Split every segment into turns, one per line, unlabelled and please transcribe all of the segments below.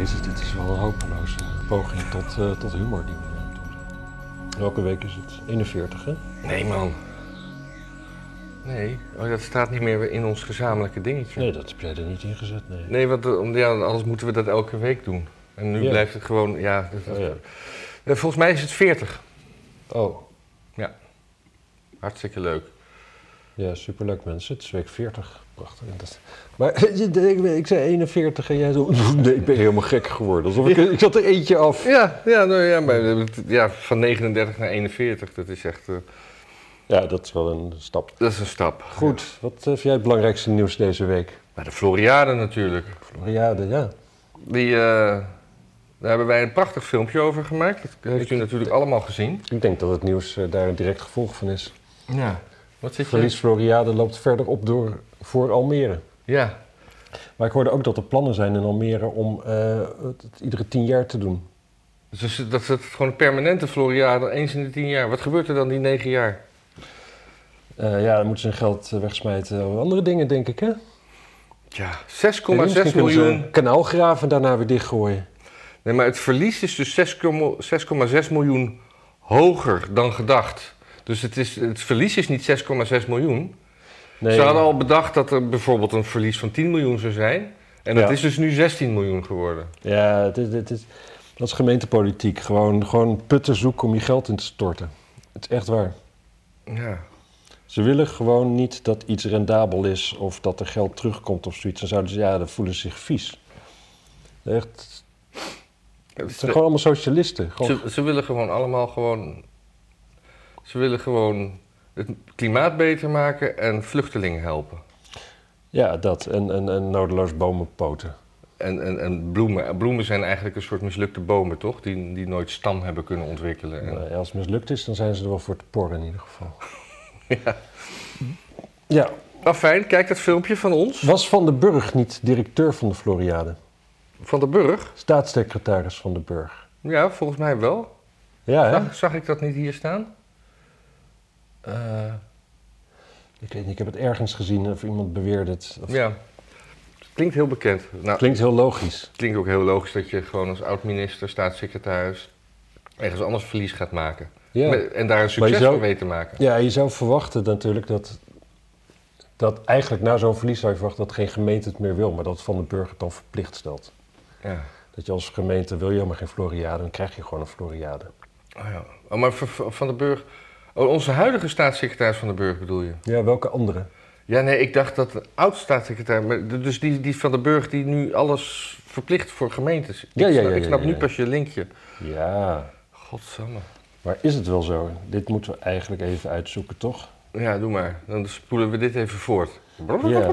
is het, het is wel een hopeloze poging tot, eh, tot humor die we eh, doen. Welke week is het? 41, hè?
Nee, man. Nee, oh, dat staat niet meer in ons gezamenlijke dingetje.
Nee, dat heb jij er niet in gezet, nee.
Nee, want eh, om- ja, anders moeten we dat elke week doen. En nu
Ja.
blijft het gewoon, ja, dat- dat-
Oh, ja.
Eh, Volgens mij is het 40.
oh,
Hartstikke leuk.
ja, superleuk mensen. Het is week 40. Prachtig. En dat- Maar ik, ik zei 41 en jij zo... Nee, ik ben helemaal gek geworden. Alsof ik, ik zat er eentje af.
Ja, ja, nou, ja, maar, eh, het- ja, van 39 naar 41, dat is echt, eh,
Ja, dat is wel een stap.
dat is een stap.
Goed, wat eh, vind jij het belangrijkste nieuws deze week?
Maar de Floriade natuurlijk.
Floriade, ja.
Die, eh, daar hebben wij een prachtig filmpje over gemaakt. Dat heeft u natuurlijk allemaal gezien.
Ik denk dat het nieuws eh, daar een direct gevolg van is.
Ja. Wat zit je?
Verlies Floriade loopt verder op door, voor Almere.
Ja.
Maar ik hoorde ook dat er plannen zijn in Almere om eh, het, het iedere tien jaar te doen.
Dus dat is het gewoon een permanente Floriade, eens in de tien jaar. Wat gebeurt er dan die negen jaar?
Eh, ja, dan moeten ze hun geld eh, wegsmijten over andere dingen, denk ik, hè?
Ja,
6,6
6,6 miljoen.
kanaal graven en daarna weer dichtgooien.
Nee, maar het verlies is dus 6,6 miljoen hoger dan gedacht. Dus het, is, het verlies is niet 6,6 miljoen.
Nee,
Ze hadden al bedacht dat er bijvoorbeeld een verlies van 10 miljoen zou zijn. En dat
Ja.
is dus nu 16 miljoen geworden.
Ja, dit, dit, dit- dat is gemeentepolitiek. Gewoon, gewoon putten zoeken om je geld in te storten. Het is echt waar.
Ja.
Ze willen gewoon niet dat iets rendabel is of dat er geld terugkomt of zoiets. Dan zouden ze, ja, dan voelen ze zich vies. Echt,
Dat
het zijn
is
gewoon allemaal socialisten. Gewoon,
Ze, ze willen gewoon allemaal gewoon. Ze willen gewoon het klimaat beter maken en vluchtelingen helpen.
ja, dat. En, en, en nodeloos bomen poten.
En, en, en bloemen. Bloemen zijn eigenlijk een soort mislukte bomen, toch? Die, die nooit stam hebben kunnen ontwikkelen. En,
Nou, als het mislukt is, dan zijn ze er wel voor te porren in ieder geval. Ja.
Nou, fijn, kijk dat filmpje van ons.
Was Van den Burg niet directeur van de Floriade?
Van de Burg.
Staatssecretaris Van den Burg. Ja,
Ja, volgens mij wel.
hè?
Zag, zag ik dat niet hier staan? Eh,
Ik weet niet, ik heb het ergens gezien of iemand beweerde het. Of-
ja. Klinkt heel bekend. Nou,
Klinkt heel logisch.
klinkt ook heel logisch dat je gewoon als oud-minister, staatssecretaris... ergens anders verlies gaat maken.
Ja.
Met- En daar een succes
zou-
van weet te maken.
Ja, je zou verwachten natuurlijk dat, dat eigenlijk na zo'n verlies zou je verwachten dat geen gemeente het meer wil, maar dat Van den Burg het dan verplicht stelt.
Ja.
Dat je als gemeente wil je helemaal geen Floriade, dan krijg je gewoon een Floriade.
Oh ja. Oh, maar v- v- Van den Burg... Oh, onze huidige staatssecretaris Van den Burg bedoel je?
Ja, welke andere?
Ja, nee, ik dacht dat de oud-staatssecretaris... maar d- Dus die, die Van den Burg die nu alles verplicht voor gemeentes. Ik
Ja, ja,
snap-
ja, ja,
Ik snap
ja,
nu
ja.
pas je linkje.
Ja,
Godsamme.
maar is het wel zo? Dit moeten we eigenlijk even uitzoeken, toch?
Ja, doe maar. Dan spoelen we dit even voort.
Ja.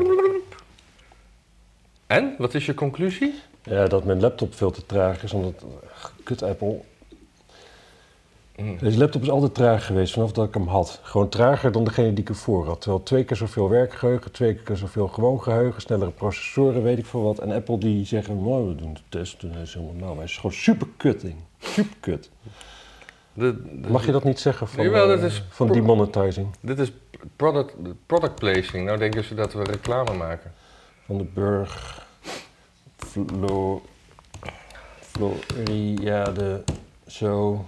En? Wat is je conclusie?
Ja, dat mijn laptop veel te traag is, omdat... Ach, Kut, Apple.
Mm.
Deze laptop is altijd traag geweest, vanaf dat ik hem had. Gewoon trager dan degene die ik ervoor had. Terwijl twee keer zoveel werkgeheugen, twee keer zoveel gewoon geheugen, snellere processoren, weet ik veel wat. En Apple die zeggen, wow, we doen de test, en dat is helemaal nou. Maar het is gewoon super kut, ding. Super kut.
De- de-
Mag je dat niet zeggen van,
Jawel,
eh,
dat is-
van demonetizing?
Dit is product, product placing. Nou denken ze dat we reclame maken.
Van de Burg, Flo, Floriade, zo.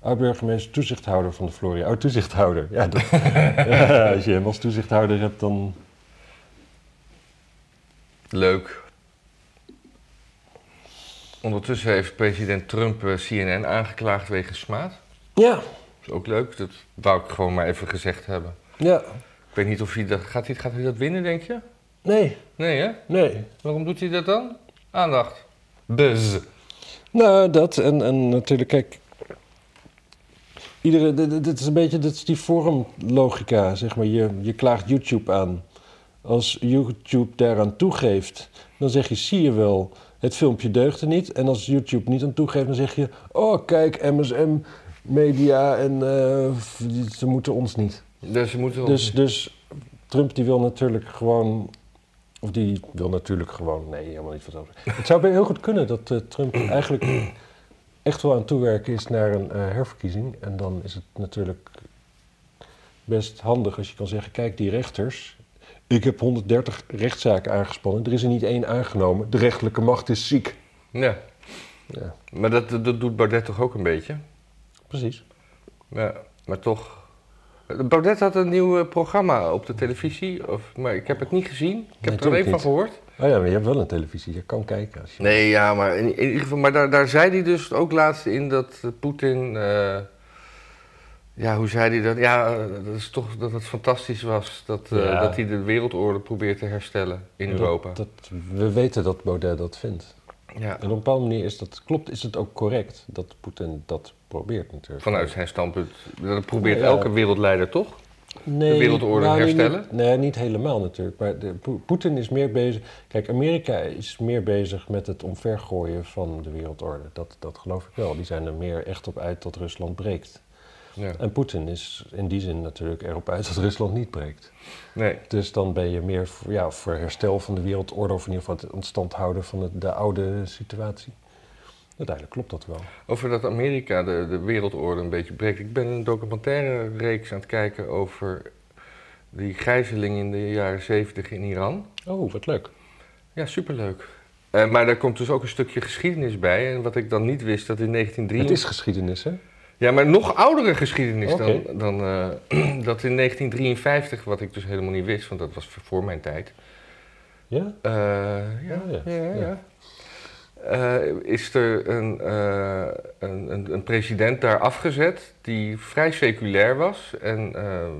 Oud-burgemeester, toezichthouder van de Floriade. Oud toezichthouder. Ja, dat, ja, als je hem als toezichthouder hebt, dan.
Leuk. Ondertussen heeft president Trump eh, CNN aangeklaagd wegens smaad.
Ja,
Dat is ook leuk. Dat wou ik gewoon maar even gezegd hebben.
ja.
Ik weet niet of hij dat... Gaat hij, gaat hij dat winnen, denk je?
Nee,
Nee, hè?
nee.
Waarom doet hij dat dan? Aandacht. Buzz.
Nou, dat en, en natuurlijk, kijk. Iedere, dit, dit- dit is een beetje dit is die forumlogica, zeg maar. Je, je klaagt YouTube aan. Als YouTube daaraan toegeeft, dan zeg je: zie je wel, het filmpje deugde niet. En als YouTube niet aan toegeeft, dan zeg je: oh, kijk, MSM, media en eh, f- die- ze moeten ons niet.
Dus ze moeten...
Dus, dus Trump die wil natuurlijk gewoon. Of die wil natuurlijk gewoon. Nee, helemaal niet vanzelf. Het zou bij heel goed kunnen dat eh, Trump eigenlijk echt wel aan het toewerken is naar een eh, herverkiezing. En dan is het natuurlijk best handig als je kan zeggen: kijk, die rechters. Ik heb 130 rechtszaken aangespannen. Er is er niet één aangenomen. De rechterlijke macht is ziek.
Ja.
Ja.
Maar dat, dat doet Baudet toch ook een beetje?
Precies.
Ja, maar toch. Baudet had een nieuw eh, programma op de televisie, of, maar ik heb het niet gezien. Ik heb
Nee,
er alleen
natuurlijk
van gehoord.
Oh ja, maar je hebt wel een televisie. Je kan kijken. Als je...
Nee, ja, maar in, in ieder geval, maar daar, daar zei hij dus ook laatst in dat eh, Poetin. eh, ja, hoe zei hij dat? Ja, eh, dat is toch dat het fantastisch was dat, eh,
Ja.
dat hij de wereldorde probeert te herstellen in
Dat-
Europa.
dat- we weten dat Baudet dat vindt.
Ja,
En op een bepaalde manier is dat, klopt, is het ook correct dat Poetin dat probeert natuurlijk.
vanuit zijn standpunt. Dat probeert
Ja.
elke wereldleider toch?
nee, nou,
de wereldorde
nee,
herstellen?
niet- nee, niet helemaal natuurlijk. Maar de, Po- Poetin is meer bezig... Kijk, Amerika is meer bezig met het omvergooien van de wereldorde. Dat, dat geloof ik wel. Die zijn er meer echt op uit dat Rusland breekt.
Ja.
En Poetin is in die zin natuurlijk erop uit dat Rusland niet breekt.
Nee.
Dus dan ben je meer voor, ja, voor herstel van de wereldorde... of in ieder geval het ontstand houden van het- de oude situatie. Uiteindelijk klopt dat wel.
Over dat Amerika de, de wereldorde een beetje breekt. Ik ben een documentaire reeks aan het kijken over die gijzeling in de jaren zeventig in Iran.
Oh, wat leuk.
Ja, superleuk. Eh, maar daar komt dus ook een stukje geschiedenis bij. En wat ik dan niet wist, dat in
Het is
1953...
geschiedenis, hè?
Ja, maar nog oudere geschiedenis
Oké.
dan, dan eh, dat in 1953, wat ik dus helemaal niet wist, want dat was voor mijn tijd.
Ja?
Eh, ja,
Oh, ja.
ja, ja.
Ja.
Eh, is er een, eh, een, een, een president daar afgezet die vrij seculair was. En, ehm,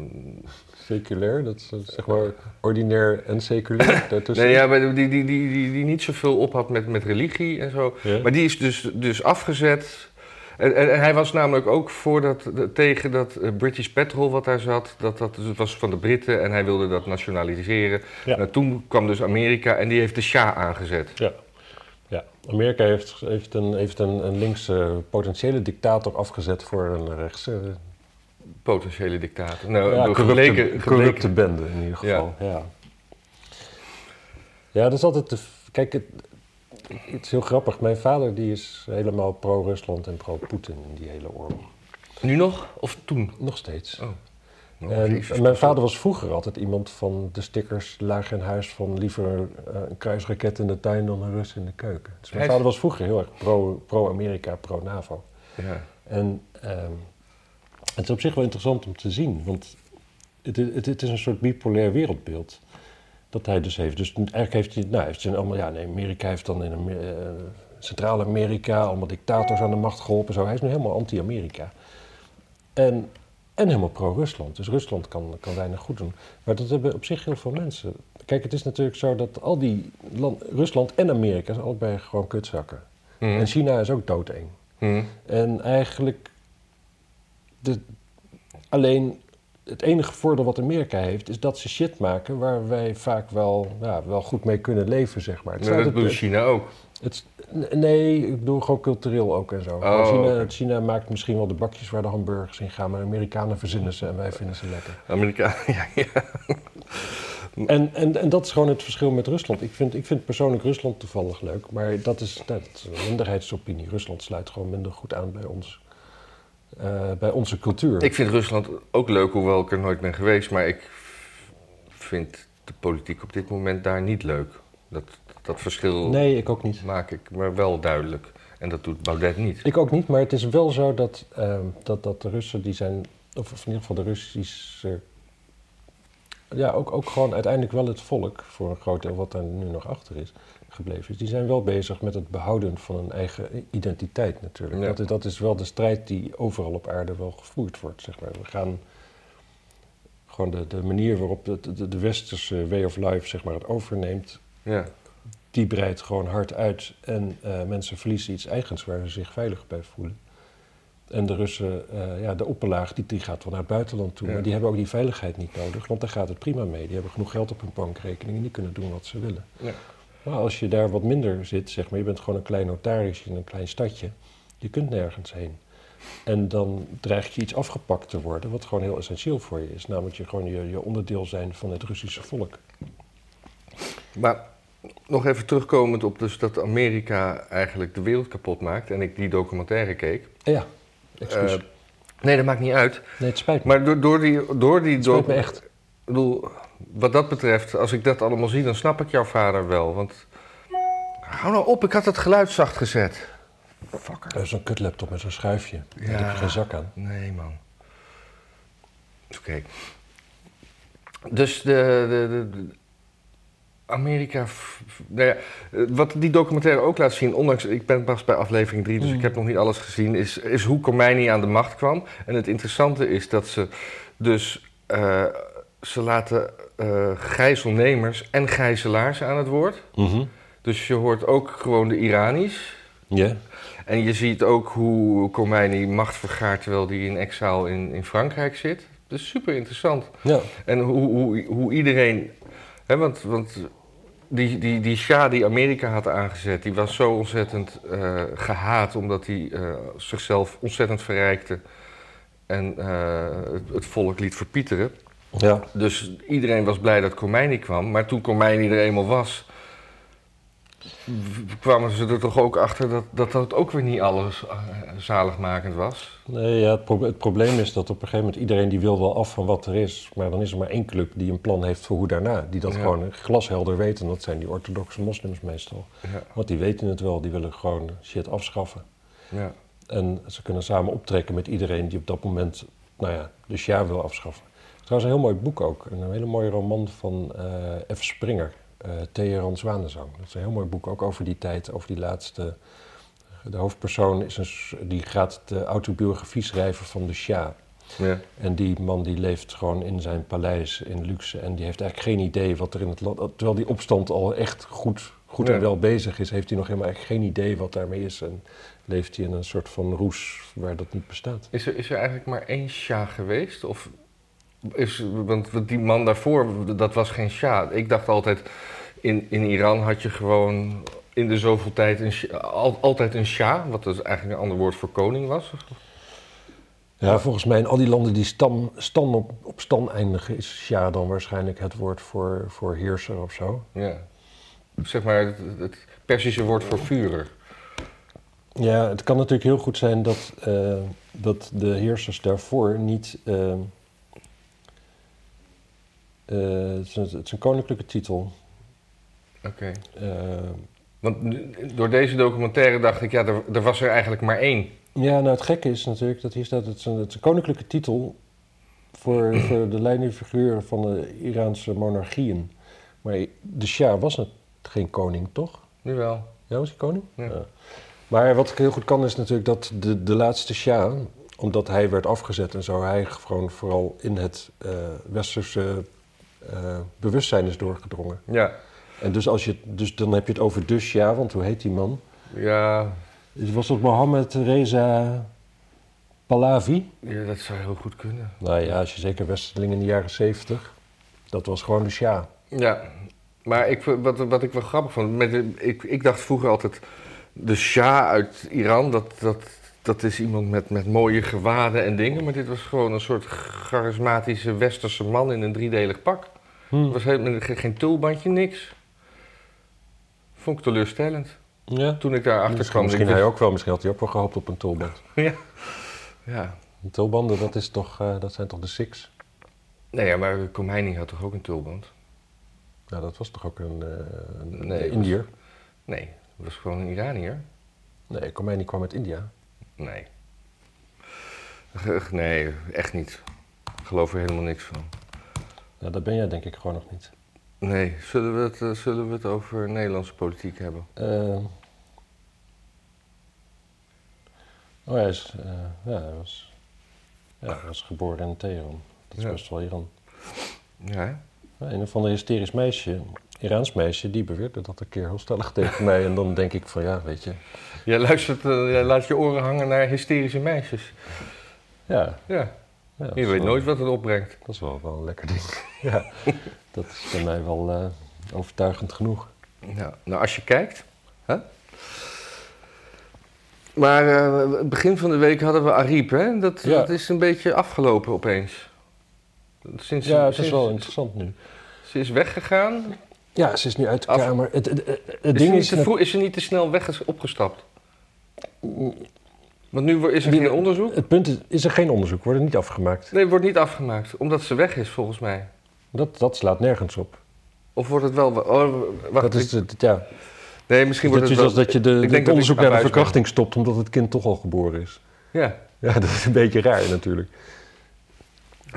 Seculair, dat is eh, zeg maar ordinair en seculair daartussen.
nee, ja, maar die, die, die, die, die niet zoveel op had met, met religie en zo.
Ja.
Maar die is dus, dus afgezet. En, en, en hij was namelijk ook voor dat, de- tegen dat eh, British Petrol wat daar zat. Dat, dat dus het was van de Britten en hij wilde dat nationaliseren.
Ja.
Nou, toen kwam dus Amerika en die heeft de Shah aangezet.
ja. Ja. Amerika heeft, heeft, een, heeft een, een linkse potentiële dictator afgezet voor een rechtse... eh,
Potentiële dictator. Nou,
ja,
door
corrupte,
gebleken,
corrupte
gebleken.
bende in ieder geval. Ja, ja. dat is altijd... De, f- kijk, het, het is heel grappig. Mijn vader die is helemaal pro-Rusland en pro-Poetin in die hele oorlog.
Nu nog of toen?
Nog steeds.
Oh. Nou,
En
Jezus.
Eh, mijn vader was vroeger altijd iemand van de stickers laag in huis van liever eh, een kruisraket in de tuin dan een Rus in de keuken. Dus mijn
Hij is-
vader was vroeger heel erg pro- pro-Amerika, pro-NAVO.
Ja.
en ehm, het is op zich wel interessant om te zien, want het, i- het, het is een soort bipolair wereldbeeld dat hij dus heeft. Dus eigenlijk heeft hij, nou, heeft hij allemaal, ja nee, Amerika heeft dan in Amer- eh, Centraal-Amerika allemaal dictators aan de macht geholpen. Zo. Hij is nu helemaal anti-Amerika. En, en helemaal pro-Rusland. Dus Rusland kan, kan weinig goed doen. Maar dat hebben op zich heel veel mensen. Kijk, het is natuurlijk zo dat al die land, Rusland en Amerika zijn allebei gewoon kutzakken.
Mhm.
En China is ook doodeng.
Mhm.
En eigenlijk, de, alleen het enige voordeel wat Amerika heeft, is dat ze shit maken waar wij vaak wel, ja, wel goed mee kunnen leven, zeg maar. Het eh,
Nou, dat
staat-
doet
het-
China ook.
het- nee, ik bedoel gewoon cultureel ook en zo.
Oh,
China,
oké.
China maakt misschien wel de bakjes waar de hamburgers in gaan, maar de Amerikanen verzinnen ze en wij vinden ze lekker.
Amerika. Ja, ja. Mm.
En, en, en dat is gewoon het verschil met Rusland. Ik vind, ik vind persoonlijk Rusland toevallig leuk, maar dat is, dat is een minderheidsopinie. Rusland sluit gewoon minder goed aan bij ons. eh, bij onze cultuur.
Ik vind Rusland ook leuk, hoewel ik er nooit ben geweest. Maar ik vind de politiek op dit moment daar niet leuk. Dat, dat verschil
Nee, ik ook niet.
maak ik me wel duidelijk. En dat doet Baudet niet.
Ik ook niet, maar het is wel zo dat, ehm, dat, dat de Russen die zijn, of, of in ieder geval de Russische, ja, ook, ook gewoon uiteindelijk wel het volk, voor een groot deel wat daar nu nog achter is gebleven is, die zijn wel bezig met het behouden van een eigen identiteit natuurlijk.
Ja.
Dat, is- dat is wel de strijd die overal op aarde wel gevoerd wordt, zeg maar. We gaan gewoon de, de manier waarop de, de, de westerse way of life, zeg maar, het overneemt,
Ja.
die breidt gewoon hard uit. En eh, mensen verliezen iets eigens waar ze zich veilig bij voelen. En de Russen, eh, ja, de opperlaag, die, die gaat wel naar het buitenland toe.
Ja.
Maar die hebben ook die veiligheid niet nodig, want daar gaat het prima mee. Die hebben genoeg geld op hun bankrekening en die kunnen doen wat ze willen.
Ja.
Maar als je daar wat minder zit, zeg maar, je bent gewoon een klein notaris in een klein stadje. Je kunt nergens heen. En dan dreigt je iets afgepakt te worden, wat gewoon heel essentieel voor je is. Namelijk je gewoon je, je onderdeel zijn van het Russische volk.
Maar nog even terugkomend op dus dat Amerika eigenlijk de wereld kapot maakt. En ik die documentaire keek.
Ja, excuus.
Eh, nee, dat maakt niet uit.
nee, het spijt me.
Maar door, door die... Door die
Het spijt
docu-
me echt.
Ik bedoel, wat dat betreft, als ik dat allemaal zie, dan snap ik jouw vader wel. Want Hou nou op, ik had het geluid zacht gezet. Fucker.
Dat is zo'n kutlaptop met zo'n schuifje. Daar
Ja.
heb je geen zak aan.
Nee, man. Oké. Dus de, de, de, de- Amerika. f- f- Nou ja, eh, wat die documentaire ook laat zien, ondanks ik ben pas bij aflevering 3, dus
Mm.
ik heb nog niet alles gezien, is, is hoe Khomeini aan de macht kwam. En het interessante is dat ze dus eh, ze laten eh, gijzelnemers en gijzelaars aan het woord.
Mhm.
Dus je hoort ook gewoon de Iranisch.
Ja.
En je ziet ook hoe Khomeini macht vergaart terwijl hij in exaal in, in Frankrijk zit. Dat is super interessant.
Ja.
En hoe, hoe, hoe iedereen. Hè, want want die, die, die Shah die Amerika had aangezet, die was zo ontzettend eh, gehaat omdat hij eh, zichzelf ontzettend verrijkte en eh, het, het volk liet verpieteren.
Ja.
Dus iedereen was blij dat Khomeini kwam. Maar toen Khomeini er eenmaal was, w- kwamen ze er toch ook achter dat dat, dat ook weer niet alles eh, zaligmakend was.
Nee, ja, het, proble- het probleem is dat op een gegeven moment iedereen die wil wel af van wat er is. Maar dan is er maar één club die een plan heeft voor hoe daarna. Die dat
Ja.
gewoon glashelder weten. En dat zijn die orthodoxe moslims meestal.
Ja,
Want die weten het wel. Die willen gewoon shit afschaffen.
ja,
En ze kunnen samen optrekken met iedereen die op dat moment, nou ja, de Sjaar wil afschaffen. Trouwens, een heel mooi boek ook. Een hele mooie roman van eh, F. Springer, eh Teheran Zwanenzang. Dat is een heel mooi boek ook over die tijd, over die laatste. De hoofdpersoon is een, s- die gaat de autobiografie schrijven van de Sjaar.
ja,
En die man die leeft gewoon in zijn paleis in luxe. En die heeft eigenlijk geen idee wat er in het land. Terwijl die opstand al echt goed, goed
Ja.
en wel bezig is, heeft hij nog helemaal eigenlijk geen idee wat daarmee is. En leeft hij in een soort van roes waar dat niet bestaat.
Is, er, is er eigenlijk maar één Shah geweest? Of is, want want die man daarvoor, dat was geen Shah. Ik dacht altijd, in, in Iran had je gewoon in de zoveel tijd een, Sja- al- altijd een Shah, wat dus eigenlijk een ander woord voor koning was.
Ja, volgens mij in al die landen die stam, stam op, op stam eindigen, is Sja dan waarschijnlijk het woord voor, voor heerser of zo.
Ja. Zeg maar het, het Persische woord voor vurer.
Ja, het kan natuurlijk heel goed zijn dat, eh, dat de heersers daarvoor niet. eh, eh, het, is een, het is een koninklijke titel.
Oké.
Eh,
Want nu- door deze documentaire dacht ik, ja, er, er was er eigenlijk maar één.
ja, nou het gekke is natuurlijk dat hier staat: het is een, het is een koninklijke titel voor, voor de leidende van de Iraanse monarchieën. Maar de Shah was het, geen koning, toch?
Nu wel.
Ja, was hij koning?
Ja.
Maar wat ik heel goed kan is natuurlijk dat de, de laatste Shah, omdat hij werd afgezet en zo, hij gewoon vooral in het eh, westerse eh, bewustzijn is doorgedrongen.
Ja.
En dus, als je, het- dus dan heb je het over de Shah, want hoe heet die man?
Ja,
Dus Was dat Mohammed Reza Pahlavi?
ja, dat zou heel goed kunnen.
Nou ja, als je zeker westerling in de jaren zeventig, dat was gewoon de Shah.
Ja. Maar ik, wat, wat ik wel grappig vond, met, de- ik, ik dacht vroeger altijd, de Shah uit Iran, dat, dat, dat is iemand met, met mooie gewaden en dingen. Maar dit was gewoon een soort charismatische westerse man in een driedelig pak.
Hm.
Er was helemaal geen, geen tulbandje, niks. Vond ik teleurstellend.
Ja.
Toen ik daarachter
Misschien,
kwam...
misschien
ik
hij
wist-
ook wel, misschien had hij ook wel gehoopt op een tulband.
Ja. ja.
Een tulbanden, dat, is toch, eh, dat zijn toch de Sikhs?
Nee, ja, maar Khomeini had toch ook een tulband?
Nou, dat was toch ook een, eh, een
Nee,
Indiër?
Nee, dat was gewoon een Iranier.
Nee, Khomeini kwam uit India.
Nee. Ugh, Nee, echt niet. Ik geloof er helemaal niks van.
Nou, dat ben jij denk ik gewoon nog niet.
Nee, zullen we het, eh, zullen we het over Nederlandse politiek hebben?
Eh, Oh, hij is, eh, ja, hij was, ja, hij was geboren in Teheran. Dat is
Ja.
best wel Iran.
Ja, hè?
Ja, Een of ander hysterisch meisje, Iraans meisje, die beweerde dat een keer heel stellig tegen mij. En dan denk ik van ja, weet je.
Jij, luistert, eh, jij laat je oren hangen naar hysterische meisjes.
Ja,
Ja,
ja, dat
je
is
weet
wel-
nooit wat het opbrengt.
Dat is wel, wel een lekker ding. ja, dat is bij mij wel eh, overtuigend genoeg.
Ja, nou, als je kijkt. Hè? Maar eh, het begin van de week hadden we Ariep, hè? Dat,
Ja.
dat is een beetje afgelopen opeens. Sinds,
Ja, het is
sinds-
wel interessant nu.
Ze is weggegaan.
Ja, ze is nu uit de
Af-
kamer. Het, het, het- het
Is
ding
ze, niet
is...
te vroeg- is ze niet te snel weg opgestapt? Want nu wo- is er
Die-
geen onderzoek.
Het punt is, is er geen onderzoek, wordt het niet afgemaakt.
Nee, het wordt niet afgemaakt, omdat ze weg is volgens mij.
Dat, dat slaat nergens op.
Of wordt het wel... Oh, wacht,
dat is
ik-
het, ja.
Nee, misschien
Dat je,
wordt het wel...
zoals dat je de,
ik denk
het
dat ik
onderzoek
aan
naar de
huis ben.
verkrachting stopt omdat het kind toch al geboren is.
Ja.
Ja, dat is een beetje raar natuurlijk.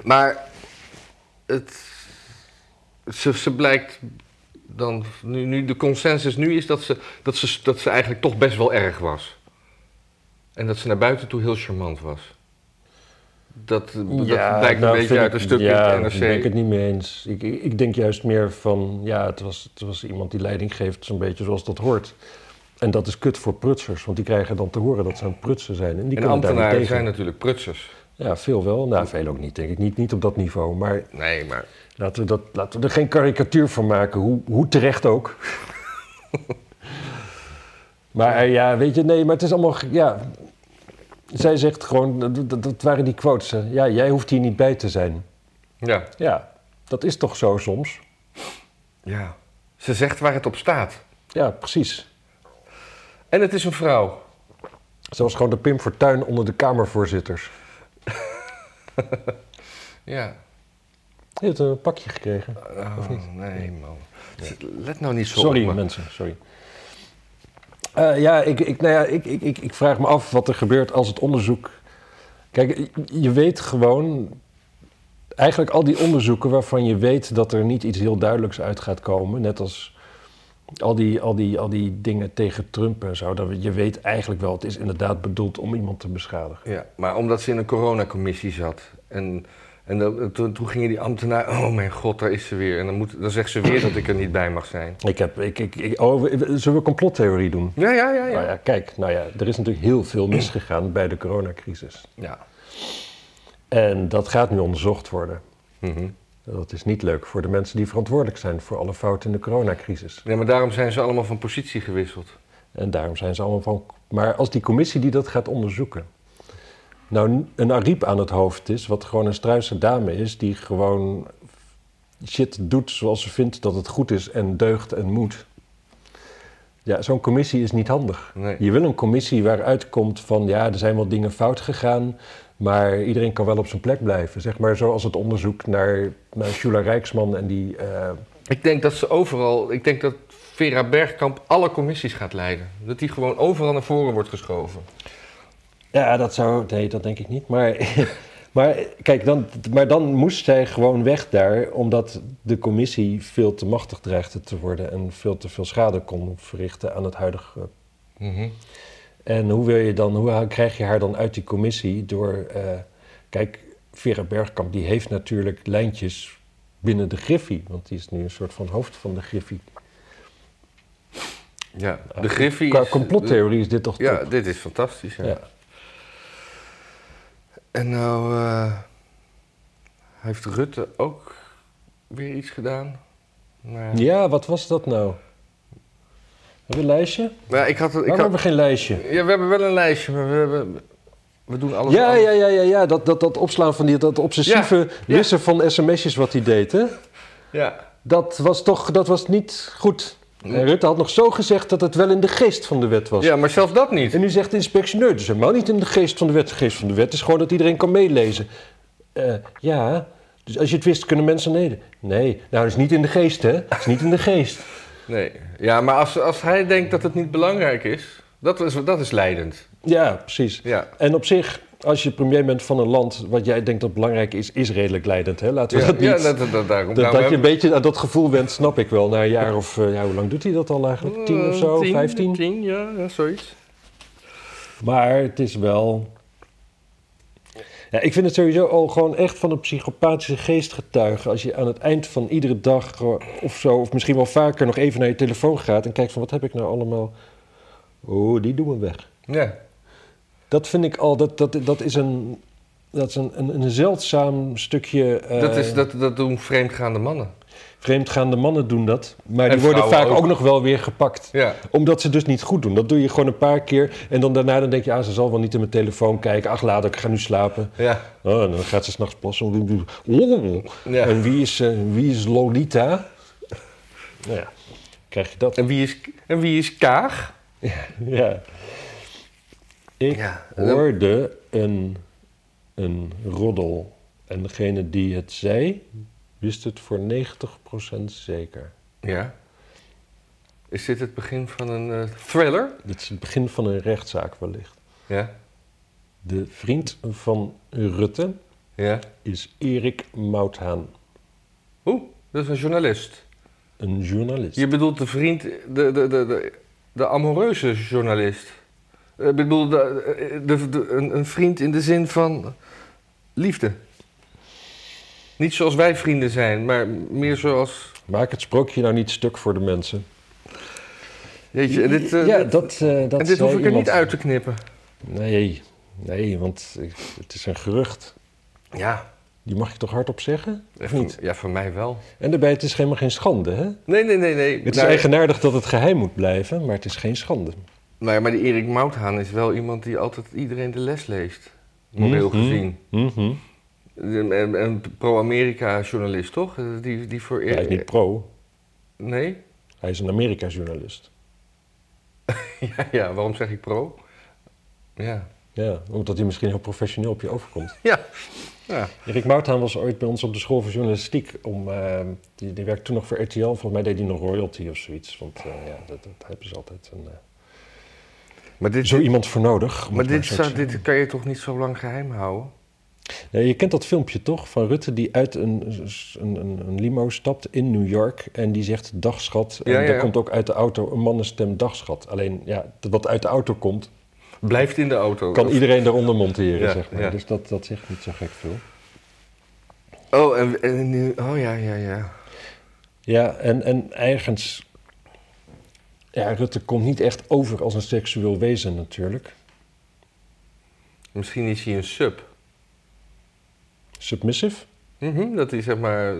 Maar het, ze, ze blijkt dan, nu, nu, de consensus nu is dat ze, dat, ze, dat ze eigenlijk toch best wel erg was. En dat ze naar buiten toe heel charmant was. Dat, dat blijkt
nou,
een beetje
vind
uit
ik-
een stukje
ja,
in het
Daar ben ik
NRC.
het niet mee eens. Ik, ik ik denk juist meer van, ja, het was, het was iemand die leiding geeft, zo'n beetje zoals dat hoort. En dat is kut voor prutsers, want die krijgen dan te horen dat ze aan het prutsen zijn. En die
En
kunnen daar niet
ambtenaren
tegen.
zijn natuurlijk prutsers.
Ja, veel wel. Nou, veel ook niet, denk ik. Niet, niet op dat niveau. Maar
Nee, maar
laten we, dat, laten we er geen karikatuur van maken, hoe, hoe terecht ook. maar eh, ja, weet je, nee, maar het is allemaal... ge- Ja, zij zegt gewoon, dat, dat- dat waren die quotes. hè. Ja, jij hoeft hier niet bij te zijn.
ja.
Ja, dat is toch zo soms?
ja. Ze zegt waar het op staat.
Ja, precies.
En het is een vrouw.
Ze was gewoon de Pim Fortuyn onder de Kamervoorzitters.
Ja.
Je hebt een pakje gekregen.
Oh, nee, man. Let nou niet zo
Sorry,
op me.
mensen, sorry. Eh, ja, ik, ik, nou ja ik, ik, ik, ik vraag me af wat er gebeurt als het onderzoek. Kijk, je- je weet gewoon. Eigenlijk al die onderzoeken waarvan je weet dat er niet iets heel duidelijks uit gaat komen. Net als al die, al die, al die dingen tegen Trump en zo. Dat, we- je weet eigenlijk wel, het is inderdaad bedoeld om iemand te beschadigen.
Ja, maar omdat ze in een coronacommissie zat. En, en dan, toen, toen gingen die ambtenaren... Oh mijn god, daar is ze weer. En dan, moet, dan zegt ze weer dat ik er niet bij mag zijn.
Ik heb, ik, ik, ik- oh, we- we- zullen we complottheorie doen?
Ja, ja, ja. ja.
Nou ja, kijk, nou ja, er is natuurlijk heel veel misgegaan bij de coronacrisis.
ja.
En dat gaat nu onderzocht worden.
Mhm.
Dat is niet leuk voor de mensen die verantwoordelijk zijn voor alle fouten in de coronacrisis.
Nee, maar daarom zijn ze allemaal van positie gewisseld.
En daarom zijn ze allemaal van. Maar als die commissie die dat gaat onderzoeken. nou een Ariep aan het hoofd is, wat gewoon een struise dame is, die gewoon shit doet zoals ze vindt dat het goed is en deugt en moet. Ja, zo'n commissie is niet handig.
Nee.
Je wil een commissie waaruit komt van ja, er zijn wel dingen fout gegaan, maar iedereen kan wel op zijn plek blijven. Zeg maar zoals het onderzoek naar, naar Shula Rijksman en die. eh,
Ik denk dat ze overal... Ik denk dat Vera Bergkamp alle commissies gaat leiden. Dat die gewoon overal naar voren wordt geschoven.
Ja, dat zou. Nee, dat denk ik niet. Maar, maar kijk, dan, maar dan moest zij gewoon weg daar, omdat de commissie veel te machtig dreigde te worden en veel te veel schade kon verrichten aan het huidige.
Mhm.
En hoe wil je dan, hoe haal- krijg je haar dan uit die commissie door. eh, kijk, Vera Bergkamp die heeft natuurlijk lijntjes binnen de Griffie, want die is nu een soort van hoofd van de Griffie.
Ja, de Griffie...
Ah, Qua
is-
complottheorie is dit toch
Ja,
top?
dit is fantastisch. Ja.
Ja.
En nou eh, heeft Rutte ook weer iets gedaan. Nou Maar,
Ja, wat was dat nou? Hebben we een lijstje?
maar ik had, ik
Waarom
had,
hebben we geen lijstje?
ja, we hebben wel een lijstje, maar we, hebben, we doen alles
Ja,
anders.
ja, ja, ja, ja. Dat, dat, dat opslaan van die, dat obsessieve
Ja, ja.
wissen van sms'jes wat hij deed, hè?
ja.
Dat was toch, dat was niet goed. En Rutte had nog zo gezegd dat het wel in de geest van de wet was.
Ja, maar zelfs dat niet.
En nu zegt de inspectioneur, dus helemaal niet in de geest van de wet. De geest van de wet is gewoon dat iedereen kan meelezen. Eh, ja, dus als je het wist, kunnen mensen neden. Nee, nou, dat is niet in de geest, hè? Dat is niet in de geest.
Nee. Ja, maar als, als hij denkt dat het niet belangrijk is, dat is, dat is leidend.
Ja, precies.
Ja.
En op zich, als je premier bent van een land wat jij denkt dat belangrijk is, is redelijk leidend, hè? Laten we
Ja,
dat niet...
ja, dat, dat, dat, daarom.
Dat,
Nou,
dat je
we
een beetje aan dat gevoel went, snap ik wel. Na een jaar of, eh, ja, hoe lang doet hij dat al eigenlijk?
hebben-
Tien of zo,
Eh, tien,
vijftien?
Tien, ja, ja, zoiets.
Maar het is wel... Ja, ik vind het sowieso al gewoon echt van een psychopathische geest getuigen. Als je aan het eind van iedere dag gewoon of zo, of misschien wel vaker, nog even naar je telefoon gaat en kijkt van wat heb ik nou allemaal... Oh, die doen we weg.
Ja.
Dat vind ik al, dat, dat, dat is een... Dat is een, een, een zeldzaam stukje... eh,
dat, is, dat, dat doen vreemdgaande mannen.
Vreemdgaande mannen doen dat. Maar
En
die worden
vrouwen
vaak
ook.
ook nog wel weer gepakt.
Ja.
Omdat ze dus niet goed doen. Dat doe je gewoon een paar keer. En dan daarna dan denk je, ah, ze zal wel niet in mijn telefoon kijken. Ach, laat ik ga nu slapen.
Ja.
Oh, en dan gaat ze s'nachts plassen. Oh.
Ja.
En wie is, eh, wie is Lolita? Nou ja, krijg je dat.
En wie is, en wie is Kaag?
Ja. Ik
Ja, en dan-
hoorde een, een roddel. En degene die het zei, wist het voor 90% zeker.
Ja. Is dit het begin van een eh, thriller?
Dit is het begin van een rechtszaak wellicht.
Ja.
De vriend van Rutte
Ja.
is Erik Mouthaan,
Oeh, dat is een journalist.
een journalist.
Je bedoelt de vriend, de, de, de, de, de amoureuze journalist. Eh, Ik bedoel, de, eh, de, de- een, een vriend in de zin van liefde. Niet zoals wij vrienden zijn, maar meer zoals.
Maak het sprookje nou niet stuk voor de mensen.
Jeetje, en dit, eh,
ja,
dit-
dat, eh, dat
en dit
zei
hoef ik er
iemand-
niet uit te knippen.
Nee, nee, want eh, het is een gerucht.
Ja,
Die mag je toch hardop zeggen? Of
van-
niet?
ja, van mij wel.
En daarbij, het is helemaal geen schande, hè?
Nee, nee, nee, nee.
Het is
Nou,
eigenaardig dat het geheim moet blijven, maar het is geen schande.
nou ja, maar die Erik Mouthaan is wel iemand die altijd iedereen de les leest. Moreel
Mhm.
gezien.
Mhm.
Een, een- een pro-Amerika journalist, toch? Eh, Die, die voor
Hij is niet pro,
Nee?
hij is een Amerika-journalist.
Ja, ja, waarom zeg ik pro? Ja.
Ja, omdat hij misschien heel professioneel op je overkomt.
Ja. ja.
Erik Mouthaan was ooit bij ons op de school voor journalistiek. Om, eh, die, die werkte toen nog voor RTL. Volgens mij deed hij nog royalty of zoiets. Want eh, ja, dat, dat hebben ze altijd. Een, eh,
Maar dit,
zo iemand voor nodig. om
maar
het maar
dit,
zo te
zou,
zeggen.
dit kan je toch niet zo lang geheim houden?
Ja, je kent dat filmpje toch van Rutte die uit een, een, een, een limo stapt in New York en die zegt dagschat. En
Ja, ja,
daar
ja.
komt ook uit de auto een mannenstem dagschat. Alleen ja, dat wat uit de auto komt,
Blijft in de auto.
kan
Of-
iedereen daaronder monteren,
Ja,
zeg maar.
ja.
Dus dat, dat zegt niet zo gek veel.
Oh, en, en nu... Oh, ja, ja, ja.
Ja, en, en ergens... Ja, Rutte komt niet echt over als een seksueel wezen natuurlijk.
Misschien is hij een sub.
Submissive.
Mhm, dat hij, zeg maar...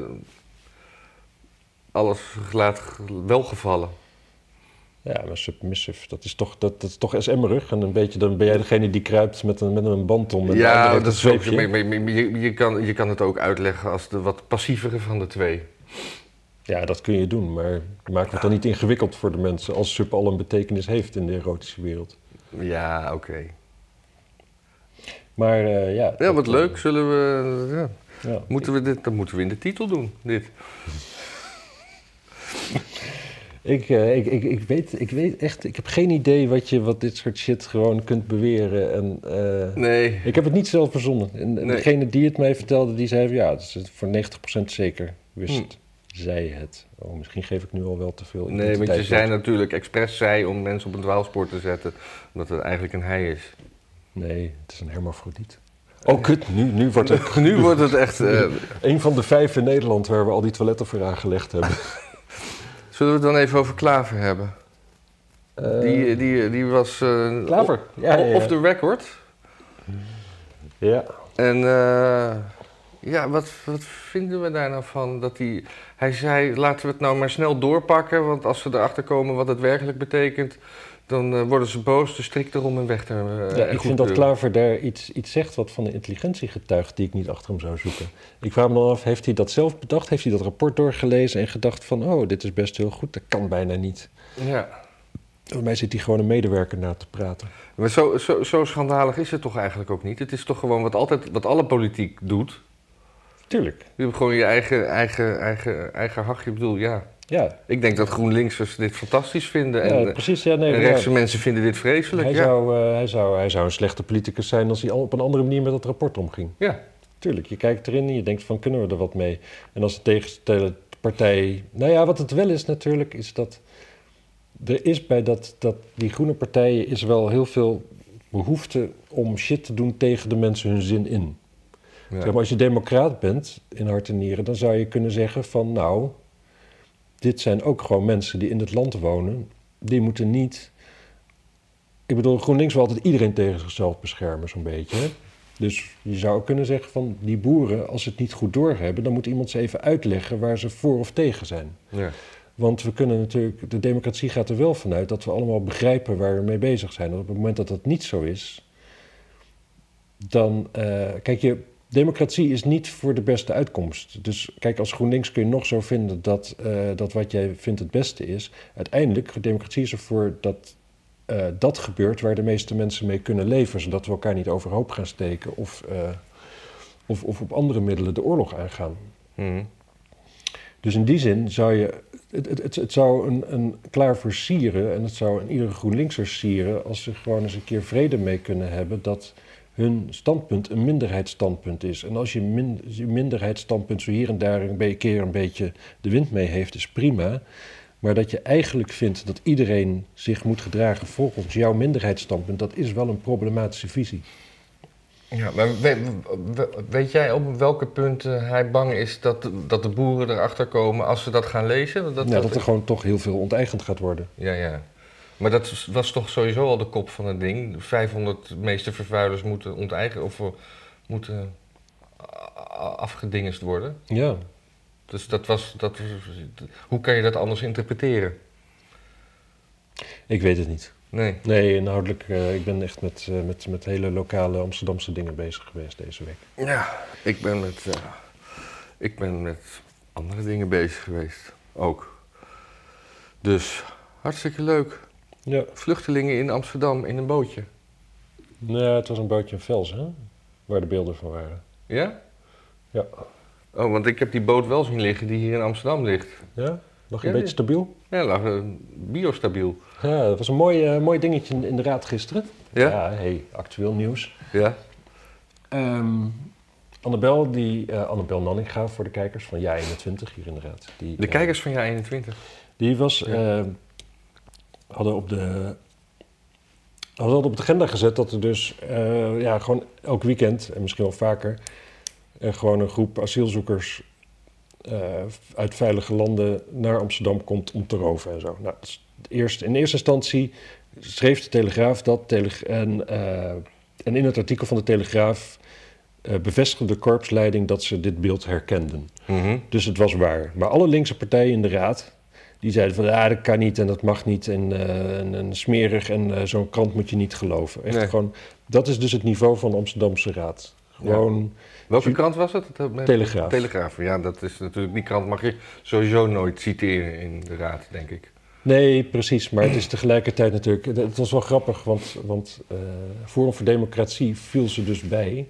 Alles laat ge- welgevallen.
Ja, maar submissive, dat is toch, dat, dat is toch SM-rug. En een beetje, dan ben jij degene die kruipt met een, met een band om. en de ander
Ja,
heeft
dat
een
is ook,
zweepje.
maar- maar- maar je, je, kan, je kan het ook uitleggen als de wat passievere van de twee.
Ja, dat kun je doen, maar maak het dan niet ingewikkeld voor de mensen als sub al een betekenis heeft in de erotische wereld.
Ja, oké.
Maar eh, ja.
Ja,
dat,
wat
eh,
leuk. Zullen we... Ja.
ja.
Moeten we dit, dat moeten we in de titel doen, dit.
Ik, eh, ik, ik, ik, weet, ik weet echt, ik heb geen idee wat je wat dit soort shit gewoon kunt beweren. En, eh,
Nee.
Ik heb het niet zelf verzonnen. En en
Nee.
degene die het mij vertelde, die zei van, ja, dat is het voor 90% zeker wist zij het. Oh, misschien geef ik nu al wel te veel
Nee, want je
identiteit
zei
weg.
natuurlijk expres zij om mensen op een dwaalspoor te zetten, omdat het eigenlijk een hij is.
Nee, het is een hermafrodiet. Oh, kut, nu, nu wordt het...
Nu wordt het echt. eh,
Een van de vijf in Nederland waar we al die toiletten voor aangelegd hebben.
zullen we het dan even over Klaver hebben? die, die, die was. eh,
Klaver.
o-
Ja, ja, ja.
Off the record.
Ja.
En eh, ja, wat, wat vinden we daar nou van? Dat hij, hij zei: laten we het nou maar snel doorpakken, want als ze erachter komen wat het werkelijk betekent, dan eh, worden ze boos, dus strikt erom en eh, weg.
Ja, ik vind dat Klaver daar iets, iets zegt wat van de intelligentie getuigt die ik niet achter hem zou zoeken. Ik vraag me dan af, heeft hij dat zelf bedacht? Heeft hij dat rapport doorgelezen en gedacht van, oh, dit is best heel goed, dat kan bijna niet.
Ja.
Voor mij zit hij gewoon een medewerker na te praten.
Maar zo, zo, zo schandalig is het toch eigenlijk ook niet? Het is toch gewoon wat, altijd, wat alle politiek doet.
Tuurlijk,
Je hebt gewoon je eigen, eigen, eigen, eigen hachje. Ik bedoel, ja.
ja.
Ik denk dat GroenLinksers dit fantastisch vinden. En,
ja,
eh,
precies, ja, nee,
en
ja.
rechtse mensen vinden dit vreselijk.
Hij,
ja.
zou, eh, hij, zou, hij zou een slechte politicus zijn als hij al op een andere manier met dat rapport omging.
ja.
Tuurlijk, je kijkt erin en je denkt van kunnen we er wat mee? En als de tegenpartij... Nou ja, wat het wel is natuurlijk, is dat er is bij dat, dat die groene partijen is wel heel veel behoefte om shit te doen tegen de mensen hun zin in.
Ja.
Zeg maar, als je democraat bent in hart en nieren, dan zou je kunnen zeggen van nou, dit zijn ook gewoon mensen die in het land wonen. Die moeten niet. Ik bedoel, GroenLinks wil altijd iedereen tegen zichzelf beschermen, zo'n beetje. hè. Dus je zou ook kunnen zeggen van die boeren, als ze het niet goed doorhebben, dan moet iemand ze even uitleggen waar ze voor of tegen zijn.
Ja.
Want we kunnen natuurlijk, de democratie gaat er wel vanuit dat we allemaal begrijpen waar we mee bezig zijn. Op het moment dat dat niet zo is, dan. eh, kijk, je, democratie is niet voor de beste uitkomst. Dus kijk, als GroenLinks kun je nog zo vinden dat, eh, dat wat jij vindt het beste is. Uiteindelijk, democratie is ervoor dat eh, dat gebeurt waar de meeste mensen mee kunnen leven, zodat we elkaar niet overhoop gaan steken of, eh, of, of op andere middelen de oorlog aangaan.
Mhm.
Dus in die zin zou je Het, het, het, het zou een, een klaar voor sieren en het zou een iedere GroenLinkser sieren als ze gewoon eens een keer vrede mee kunnen hebben dat hun standpunt een minderheidsstandpunt is. En als je, min, je minderheidsstandpunt zo hier en daar een be- keer een beetje de wind mee heeft, is prima. Maar dat je eigenlijk vindt dat iedereen zich moet gedragen volgens jouw minderheidsstandpunt, dat is wel een problematische visie.
Ja, maar weet, weet jij op welke punten hij bang is dat, dat de boeren erachter komen als ze dat gaan lezen? Dat,
Dat, nou, dat er gewoon toch heel veel onteigend gaat worden.
Ja, ja. Maar dat was toch sowieso al de kop van het ding. 500 meeste vervuilers moeten onteigenen of eh, moeten a- a- afgedingest worden.
Ja,
Dus dat was, dat, was- hoe kan je dat anders interpreteren?
ik weet het niet.
Nee.
Nee, inhoudelijk, eh, ik ben echt met, eh, met, met hele lokale Amsterdamse dingen bezig geweest deze week.
Ja, ik ben met, eh, ik ben met andere dingen bezig geweest. Ook. Dus hartstikke leuk.
Ja,
Vluchtelingen in Amsterdam in een bootje.
nou, het was een bootje in Vels, hè? Waar de beelden van waren.
Ja?
Ja.
Oh, want ik heb die boot wel zien liggen die hier in Amsterdam ligt.
Ja? Nog een
Ja,
beetje
ja.
stabiel?
Ja, lag eh, biostabiel.
Ja, dat was een mooi, eh, mooi dingetje in, in de raad gisteren.
Ja?
Ja, hey, actueel nieuws.
Ja.
Ehm, Annabel, die, eh, Annabel Nanninga voor de kijkers van Ja 21 hier in de raad. Die,
De
eh,
kijkers van jaar 21.
Die was,
Ja.
eh, hadden op de hadden dat op de agenda gezet dat er dus eh, ja, gewoon elk weekend en misschien wel vaker eh, gewoon een groep asielzoekers eh, uit veilige landen naar Amsterdam komt om te roven en zo. Nou, dat is het eerste- in eerste instantie schreef de Telegraaf dat Tele- en, eh, en in het artikel van de Telegraaf eh, bevestigde de korpsleiding dat ze dit beeld herkenden. Dus het was waar. Maar alle linkse partijen in de raad, die zeiden van ja, dat kan niet en dat mag niet en, eh, en, en smerig en eh, zo'n krant moet je niet geloven. Echt
Nee.
gewoon, dat is dus het niveau van de Amsterdamse raad. Gewoon,
Welke krant was het? Dat- dat-
Telegraaf.
Telegraaf, ja, dat is natuurlijk. Die krant mag je sowieso nooit citeren in de raad, denk ik.
nee precies, maar het is tegelijkertijd natuurlijk, het, het was wel grappig, want, want eh, Forum voor Democratie viel ze dus bij.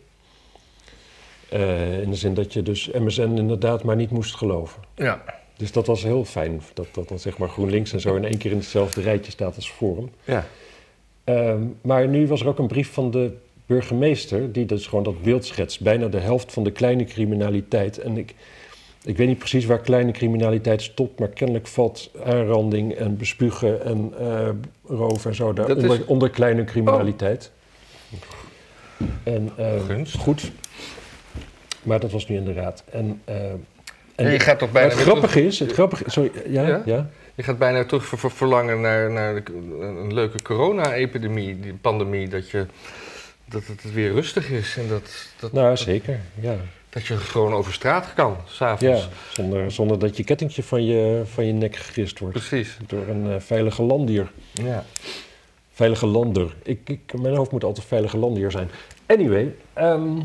Eh, in de zin dat je dus MSN inderdaad maar niet moest geloven.
Ja.
Dus dat was heel fijn, dat, dat dan zeg maar GroenLinks en zo in één keer in hetzelfde rijtje staat als Forum.
Ja.
Ehm, maar nu was er ook een brief van de burgemeester, die dus gewoon dat beeld schetst. Bijna de helft van de kleine criminaliteit. En ik, ik weet niet precies waar kleine criminaliteit stopt, maar kennelijk valt aanranding en bespugen en eh roven en zo daar
Dat is-
onder, onder kleine criminaliteit.
Oh.
En, eh,
Gunst.
Goed. Maar dat was nu inderdaad. En, eh, en
En je gaat toch
maar
bijna.
het
weer
grappige is, het grappige, sorry, ja,
Ja?
ja?
terug- je gaat bijna terug ver- ver- verlangen naar, naar de- een leuke corona-epidemie, die pandemie, dat je. Dat het weer rustig is en dat, dat,
Nou, zeker, ja.
dat je gewoon over straat kan, s'avonds.
Ja, zonder, zonder dat je kettingje van je, van je nek gegist wordt.
Precies.
Door een eh, veilige landier.
Ja.
Veilige lander. Ik, ik, mijn hoofd moet altijd veilige landier zijn. Anyway, ehm,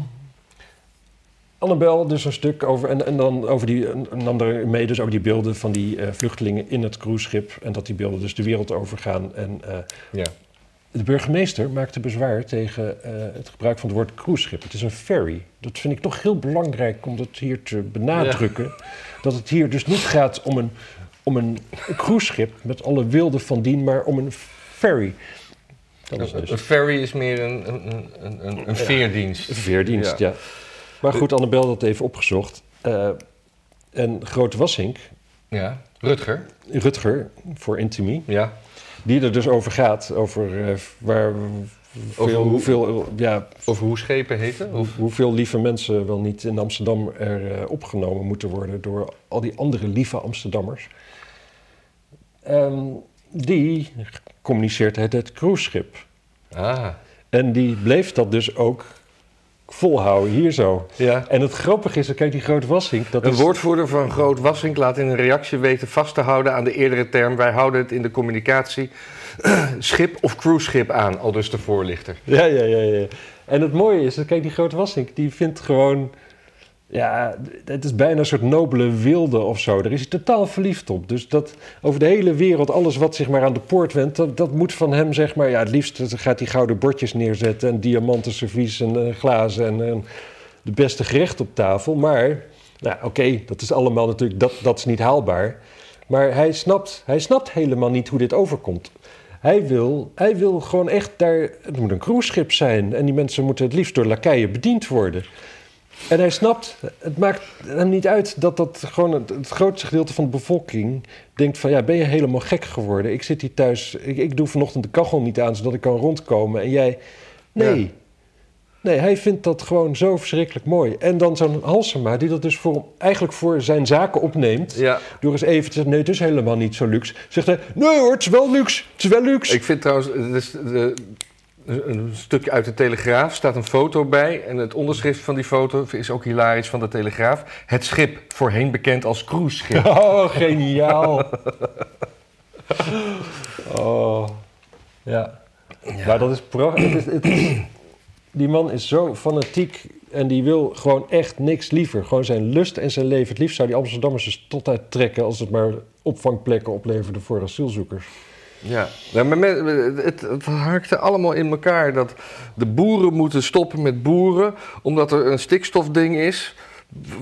Annabel dus een stuk over... En, en dan over die, en- en nam er mee dus ook die beelden van die eh, vluchtelingen in het cruiseschip. En dat die beelden dus de wereld overgaan. En eh,
ja.
de burgemeester maakte bezwaar tegen eh, het gebruik van het woord cruiseschip. Het is een ferry. Dat vind ik toch heel belangrijk om dat hier te benadrukken. Dat het hier dus niet gaat om een, om een cruiseschip met alle wilden van dien, maar om een ferry. Dat is dus
Een ferry is meer een, een, een, een, een veerdienst.
een veerdienst, ja. Maar goed, Annabel had even opgezocht. Eh, en Grote Wassink,
Ja. Rutger.
Rutger voor Intimie,
Ja.
die er dus over gaat, over eh, waar veel,
hoe-
hoeveel, ja,
Of hoe schepen heten.
Hoe,
Of,
hoeveel lieve mensen wel niet in Amsterdam er eh, opgenomen moeten worden door al die andere lieve Amsterdammers. Ehm, die communiceert het het cruiseschip.
ah.
En die bleef dat dus ook volhouden hier zo.
Ja.
En het grappige is, kijk die grote wassing. Dat
Een
is,
woordvoerder van Groot Wassink laat in een reactie weten vast te houden aan de eerdere term. Wij houden het in de communicatie schip of cruiseschip aan, al dus de voorlichter.
Ja, ja, ja, ja. En het mooie is, dat, kijk, die grote Wassink, die vindt gewoon... Ja, d- het is bijna een soort nobele wilde of zo. Daar is hij totaal verliefd op. Dus dat over de hele wereld, alles wat zich maar aan de poort wendt... dat, dat moet van hem, zeg maar... Ja, het liefst gaat hij gouden bordjes neerzetten... en diamanten servies en eh, glazen en, en de beste gerecht op tafel. Maar, nou, oké, dat is allemaal natuurlijk... Dat, dat is niet haalbaar. Maar hij snapt, hij snapt helemaal niet hoe dit overkomt. Hij wil, hij wil gewoon echt daar. Het moet een cruiseschip zijn. En die mensen moeten het liefst door lakeien bediend worden. En hij snapt, het maakt hem niet uit dat dat gewoon het, het grootste gedeelte van de bevolking denkt van ja, ben je helemaal gek geworden? Ik zit hier thuis, ik, ik doe vanochtend de kachel niet aan zodat ik kan rondkomen. En jij, nee.
Ja.
Nee, hij vindt dat gewoon zo verschrikkelijk mooi. En dan zo'n Halsema, die dat dus voor, eigenlijk voor zijn zaken opneemt.
Ja.
Door eens even te zeggen, nee, het is helemaal niet zo luxe. Zegt hij, nee hoor, het is wel luxe, het is wel luxe.
Ik vind trouwens, het is de, een stukje uit de Telegraaf staat een foto bij. En het onderschrift van die foto is ook hilarisch van de Telegraaf. Het schip, voorheen bekend als cruiseschip.
Oh, geniaal. oh, ja. Maar dat is prachtig. Die man is zo fanatiek en die wil gewoon echt niks liever. Gewoon zijn lust en zijn leven. Het liefst zou die Amsterdammers dus tot uittrekken als het maar opvangplekken opleverde voor asielzoekers.
Ja, ja maar men- het, het haakte allemaal in elkaar dat de boeren moeten stoppen met boeren, omdat er een stikstofding is.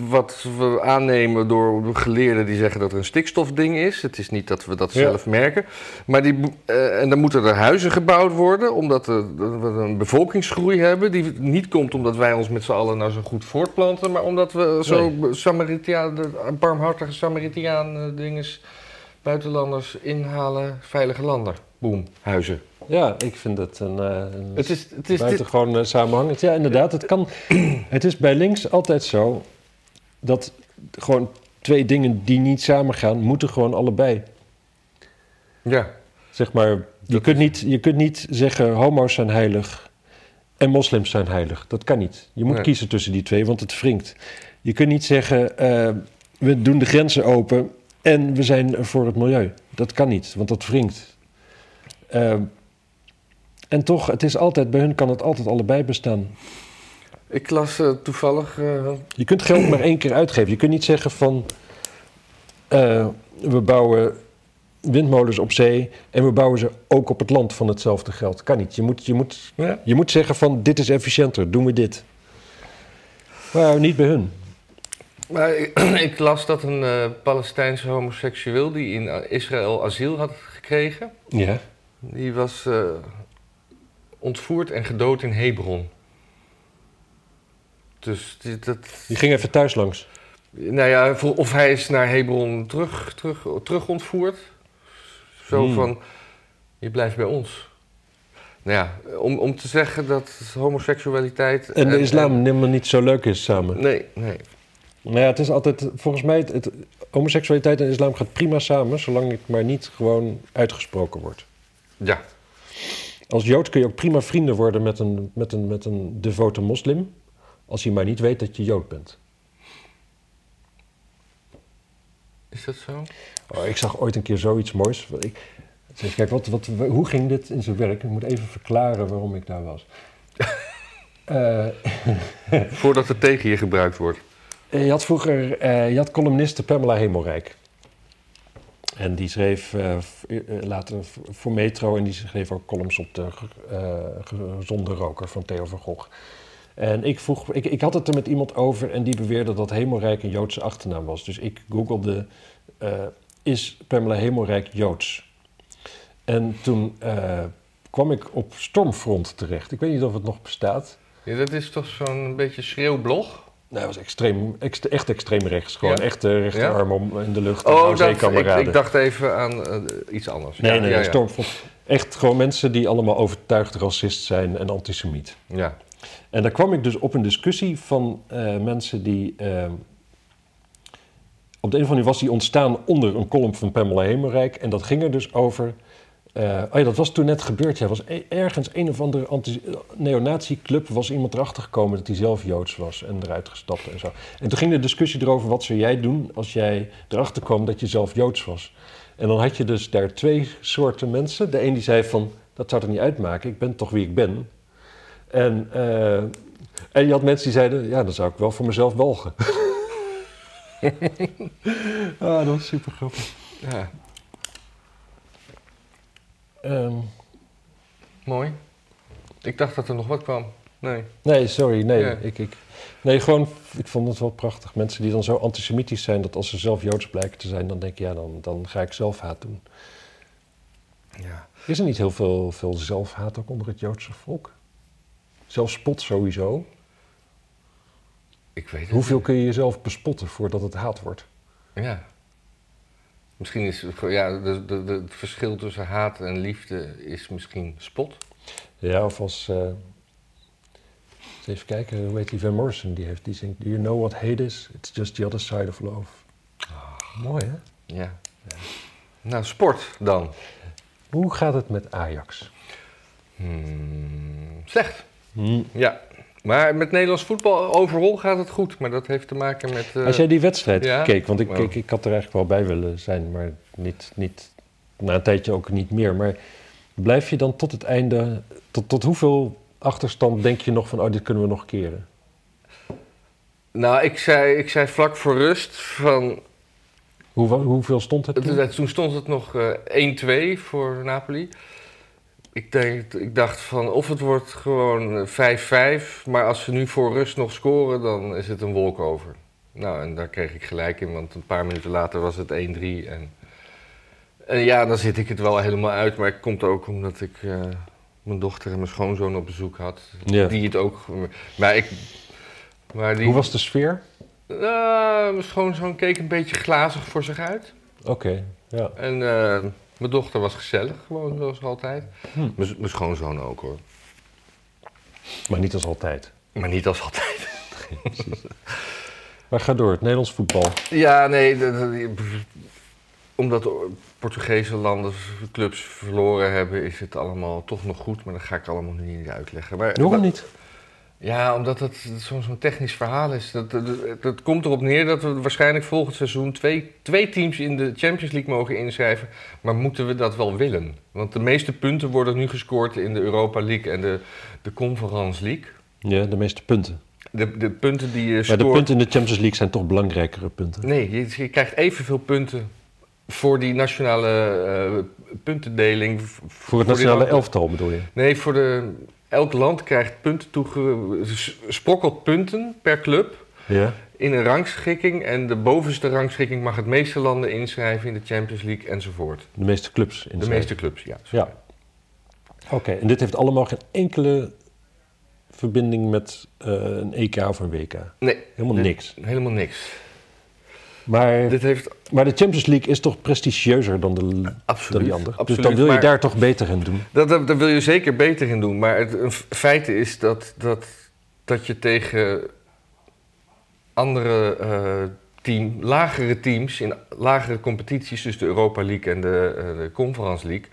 Wat we aannemen door geleerden die zeggen dat er een stikstofding is. Het is niet dat we dat
Ja.
zelf merken. Maar die, bo- eh, en dan moeten er huizen gebouwd worden, omdat er- dat we een bevolkingsgroei hebben. Die niet komt omdat wij ons met z'n allen nou zo goed voortplanten, maar omdat we zo Samaritia, de barmhartige Samaritiaan eh, dinges Buitenlanders inhalen, veilige landen. Boom, huizen.
Ja, ik vind het een, eh, een
Het is, het is dit-
buitengewoon eh, samenhangend. Ja, inderdaad. Het, kan, het is bij links altijd zo dat gewoon twee dingen die niet samengaan, moeten gewoon allebei.
Ja,
Zeg maar, je, kunt niet, je kunt niet zeggen homo's zijn heilig en moslims zijn heilig. Dat kan niet. Je moet
Nee.
kiezen tussen die twee, want het wringt. Je kunt niet zeggen eh, we doen de grenzen open en we zijn voor het milieu. Dat kan niet, want dat wringt. Eh, en toch, het is altijd, bij hun kan het altijd allebei bestaan.
ik las eh, toevallig... eh,
Je kunt geld maar één keer uitgeven. Je kunt niet zeggen van eh, we bouwen windmolens op zee en we bouwen ze ook op het land van hetzelfde geld. Kan niet. Je moet, je moet, je moet zeggen van dit is efficiënter, doen we dit. Maar niet bij hun.
maar ik, ik las dat een eh, Palestijnse homoseksueel die in eh, Israël asiel had gekregen...
Ja.
die was eh, ontvoerd en gedood in Hebron. Dus die- dat...
Die ging even thuis langs.
Nou ja, voor- of hij is naar Hebron terug, terug, terug ontvoerd. Zo
Hmm.
van, je blijft bij ons. Nou ja, om, om te zeggen dat homoseksualiteit...
En de islam helemaal niet zo leuk is samen.
nee, nee.
Nou ja, het is altijd, volgens mij, het, het- homoseksualiteit en islam gaat prima samen, zolang het maar niet gewoon uitgesproken wordt.
Ja,
Als Jood kun je ook prima vrienden worden met een, met een, met een devote moslim. Als hij maar niet weet dat je Jood bent.
is dat zo?
Oh, ik zag ooit een keer zoiets moois. Wat Ik, zeg, kijk, wat, wat, hoe ging dit in zijn werk? Ik moet even verklaren waarom ik daar was. Eh,
Voordat het tegen je gebruikt wordt.
je had vroeger eh, je had columniste Pamela Hemelrijk. En die schreef eh, v- eh, later v- voor Metro en die schreef ook columns op de eh, gezonde roker van Theo van Gogh. En ik, vroeg, ik, ik had het er met iemand over en die beweerde dat Hemelrijk een Joodse achternaam was. Dus ik googelde, eh, is Pamela Hemelrijk Joods? En toen eh, kwam ik op Stormfront terecht. Ik weet niet of het nog bestaat.
Ja, dat is toch zo'n beetje schreeuwblog?
Nou, dat was extreem, ext- echt extreem rechts. Gewoon
Ja?
echt de rechterarm om in de lucht. en
Oh,
hou zee,
dat, ik,
kameraden.
ik dacht even aan eh, iets anders.
Nee,
Ja,
nee,
ja, ja.
Stormfront. Echt gewoon mensen die allemaal overtuigd racist zijn en antisemiet.
Ja.
En daar kwam ik dus op een discussie van eh, mensen die... eh, op de een of andere manier was die ontstaan onder een column van Pamela Hemerijk. En dat ging er dus over... eh, oh ja, dat was toen net gebeurd. Ja, was e- ergens een of andere anti- neonazi-club was iemand erachter gekomen dat hij zelf Joods was en eruit gestapt en zo. En toen ging de discussie erover, wat zou jij doen als jij erachter kwam dat je zelf Joods was? En dan had je dus daar twee soorten mensen. De een die zei van, dat zou er niet uitmaken, ik ben toch wie ik ben. En, eh, en je had mensen die zeiden, ja, dan zou ik wel voor mezelf walgen. ah, dat is super grappig.
ja,
Ehm,
mooi. Ik dacht dat er nog wat kwam. Nee.
Nee, sorry, nee.
Ja.
Ik, ik, nee, gewoon, ik vond het wel prachtig. Mensen die dan zo antisemitisch zijn dat als ze zelf Joods blijken te zijn, dan denk je, ja, dan, dan ga ik zelfhaat doen.
Ja.
Is er niet heel veel, veel zelfhaat ook onder het Joodse volk? Zelfspot sowieso.
Ik weet het
Hoeveel kun je jezelf bespotten voordat het haat wordt?
Ja. Misschien is het, gewoon- ja, de, de, de- het verschil tussen haat en liefde is misschien spot.
Ja, of als. eh, eens even kijken, hoe heet die Van Morrison? Die, heeft, die zingt: Do you know what hate is? It's just the other side of love. Ah, Mooi, hè?
Ja. Nou, sport dan.
Hoe gaat het met Ajax?
Hmm, slecht. Ja. Maar met Nederlands voetbal overal gaat het goed. Maar dat heeft te maken met... eh,
Als jij die wedstrijd
ja?
keek, want ik,
Wow.
keek, ik had er eigenlijk wel bij willen zijn, maar niet, niet, na een tijdje ook niet meer. Maar blijf je dan tot het einde, tot, tot hoeveel achterstand denk je nog van, oh, dit kunnen we nog keren?
Nou, ik zei, ik zei vlak voor rust van...
Hoe, hoeveel stond het? toen?
Toen, toen stond het nog eh 1-2 voor Napoli. Ik, denk, ik dacht van of het wordt gewoon eh, 5-5, maar als ze nu voor rust nog scoren, dan is het een wolk over. Nou, en daar kreeg ik gelijk in, want een paar minuten later was het 1-3. En, en ja, dan zit ik het wel helemaal uit, maar het komt ook omdat ik eh, mijn dochter en mijn schoonzoon op bezoek had.
Ja.
Die het ook. Maar ik. Maar die,
Hoe was de sfeer?
Eh, mijn schoonzoon keek een beetje glazig voor zich uit.
Oké, ja.
En eh, mijn dochter was gezellig, gewoon zoals altijd.
Hm.
Mijn z- mijn schoonzoon ook hoor.
Maar niet als altijd.
Maar niet als altijd.
Maar ga door, het Nederlands voetbal.
Ja, nee, dat- dat- omdat de Portugese landen clubs verloren hebben, is het allemaal toch nog goed. Maar dat ga ik allemaal nu niet uitleggen. Maar,
Waarom niet?
Ja, omdat het zo'n zo'n technisch verhaal is. Dat, dat, dat komt erop neer dat we waarschijnlijk volgend seizoen twee, twee teams in de Champions League mogen inschrijven. Maar moeten we dat wel willen? Want de meeste punten worden nu gescoord in de Europa League en de, de Conference League.
Ja, de meeste punten.
De, de punten die je
Maar
scoort...
de punten in de Champions League zijn toch belangrijkere punten.
Nee, je, je krijgt evenveel punten voor die nationale eh, puntendeling. v-
Voor het
die
nationale
landen.
elftal bedoel je?
Nee, voor de, elk land krijgt punten toege... s- sprokkelt punten per club...
Ja.
in een rangschikking. En de bovenste rangschikking mag het meeste landen inschrijven in de Champions League enzovoort.
De meeste clubs in
De meeste clubs, ja. sorry.
Dus Ja. Oké, en dit heeft allemaal geen enkele verbinding met eh, een EK of een WK.
Nee,
Helemaal
Dit-
niks.
helemaal niks.
Maar,
Dit heeft
maar de Champions League is toch prestigieuzer dan, de, dan
absoluut.
die andere.
absoluut
dus dan wil je
maar-
daar toch beter in doen.
Dat, dat, daar wil je zeker beter in doen. Maar het een f- feit is dat, dat, dat je tegen andere eh, team, lagere teams in lagere competities, dus de Europa League en de, eh, de Conference League,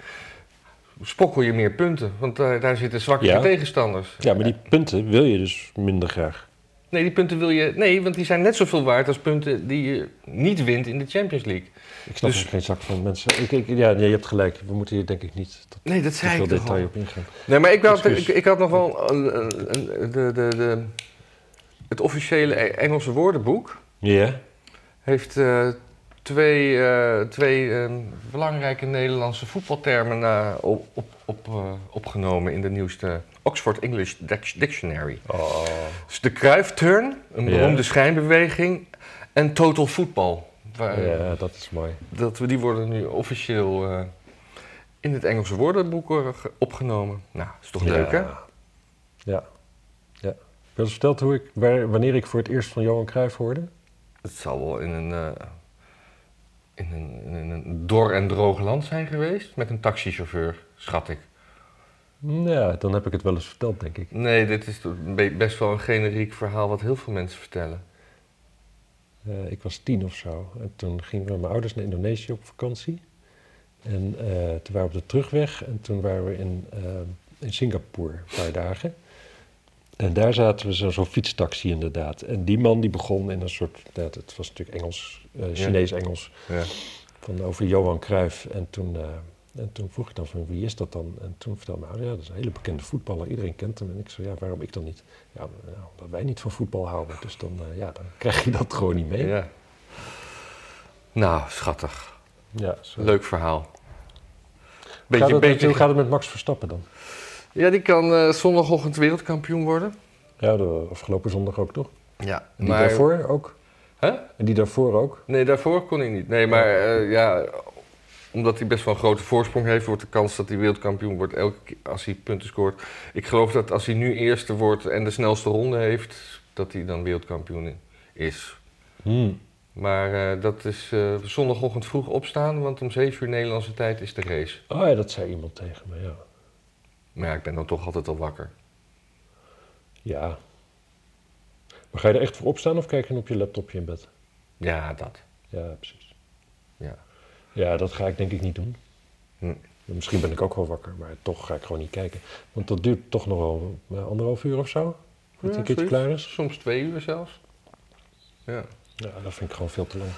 spokkel je meer punten. Want daar, daar zitten zwakkere
Ja.
tegenstanders.
Ja, maar die punten wil je dus minder graag.
Nee, die punten wil je. Nee, want die zijn net zoveel waard als punten die je niet wint in de Champions League.
Ik snap
Dus-
er geen zak van mensen. Ik, ik, ja, nee, je hebt gelijk. We moeten hier denk ik niet tot
Nee, dat
te
zei
veel
ik toch
detail
al.
op ingaan.
Nee, maar ik, had, ik,
Excuus.
ik had nog wel eh, een- een- een- de, de, de, het officiële E- Engelse woordenboek.
Ja?
heeft eh, twee, eh, twee eh, belangrijke Nederlandse voetbaltermen eh, op, op, op, eh, opgenomen in de nieuwste Oxford English Dic- Dictionary. Dus de Cruyff-turn,
Ja.
een beroemde schijnbeweging, en total voetbal. Waar-
Ja, dat is mooi.
dat, we- die worden nu officieel eh, in het Engelse woordenboek eh, ge- opgenomen. Nou, is toch leuk, hè?
Ja. Ja. ja. Heb je al eens verteld hoe ik, waar, wanneer ik voor het eerst van Johan Cruijff hoorde?
Het zal wel in een, eh, in, een, in een dor en droog land zijn geweest met een taxichauffeur, schat ik.
Ja, dan heb ik het wel eens verteld, denk ik.
Nee, dit is toch be- best wel een generiek verhaal wat heel veel mensen vertellen.
Eh, ik was tien of zo. En toen gingen we met mijn ouders naar Indonesië op vakantie. En eh, toen waren we op de terugweg. En toen waren we in, eh, in Singapore een paar dagen. En daar zaten we zo- zo'n fietstaxi inderdaad. En die man die begon in een soort... ja, het was natuurlijk Engels, eh, Chinees-Engels.
Ja.
van over Johan Cruijff. En toen, eh, en toen vroeg ik dan van wie is dat dan? En toen vertelde mijn ouder, ja, dat is een hele bekende voetballer. Iedereen kent hem. En ik zei, ja, waarom ik dan niet? Ja, nou, omdat wij niet van voetbal houden. Dus dan, eh, ja, dan krijg je dat gewoon niet mee. Ja,
ja. Nou, schattig.
zo.
Leuk verhaal.
gaat
Beetje,
het,
beetje,
Hoe gaat het met Max Verstappen dan?
Ja, die kan eh, zondagochtend wereldkampioen worden.
Ja, de afgelopen zondag ook toch?
Ja,
En die
maar...
daarvoor ook?
Hè?
En die daarvoor ook?
Nee, daarvoor kon hij niet. Nee, maar eh, ja, omdat hij best wel een grote voorsprong heeft, wordt de kans dat hij wereldkampioen wordt elke keer als hij punten scoort. Ik geloof dat als hij nu eerste wordt en de snelste ronde heeft, dat hij dan wereldkampioen is.
Hmm.
Maar eh, dat is eh, zondagochtend vroeg opstaan, want om 7 uur Nederlandse tijd is de race.
Oh ja, dat zei iemand tegen me, ja.
Maar ja, ik ben dan toch altijd al wakker.
Ja. Maar ga je er echt voor opstaan of kijk je op je laptopje in bed?
Ja, dat.
Ja, precies.
Ja.
Ja, dat ga ik denk ik niet doen.
Hm.
Misschien ben ik ook wel wakker, maar toch ga ik gewoon niet kijken. Want dat duurt toch nog wel eh, anderhalf uur of zo, voordat hij een keertje
zoiets.
klaar is.
Soms twee uur zelfs. Ja.
Ja, dat vind ik gewoon veel te lang.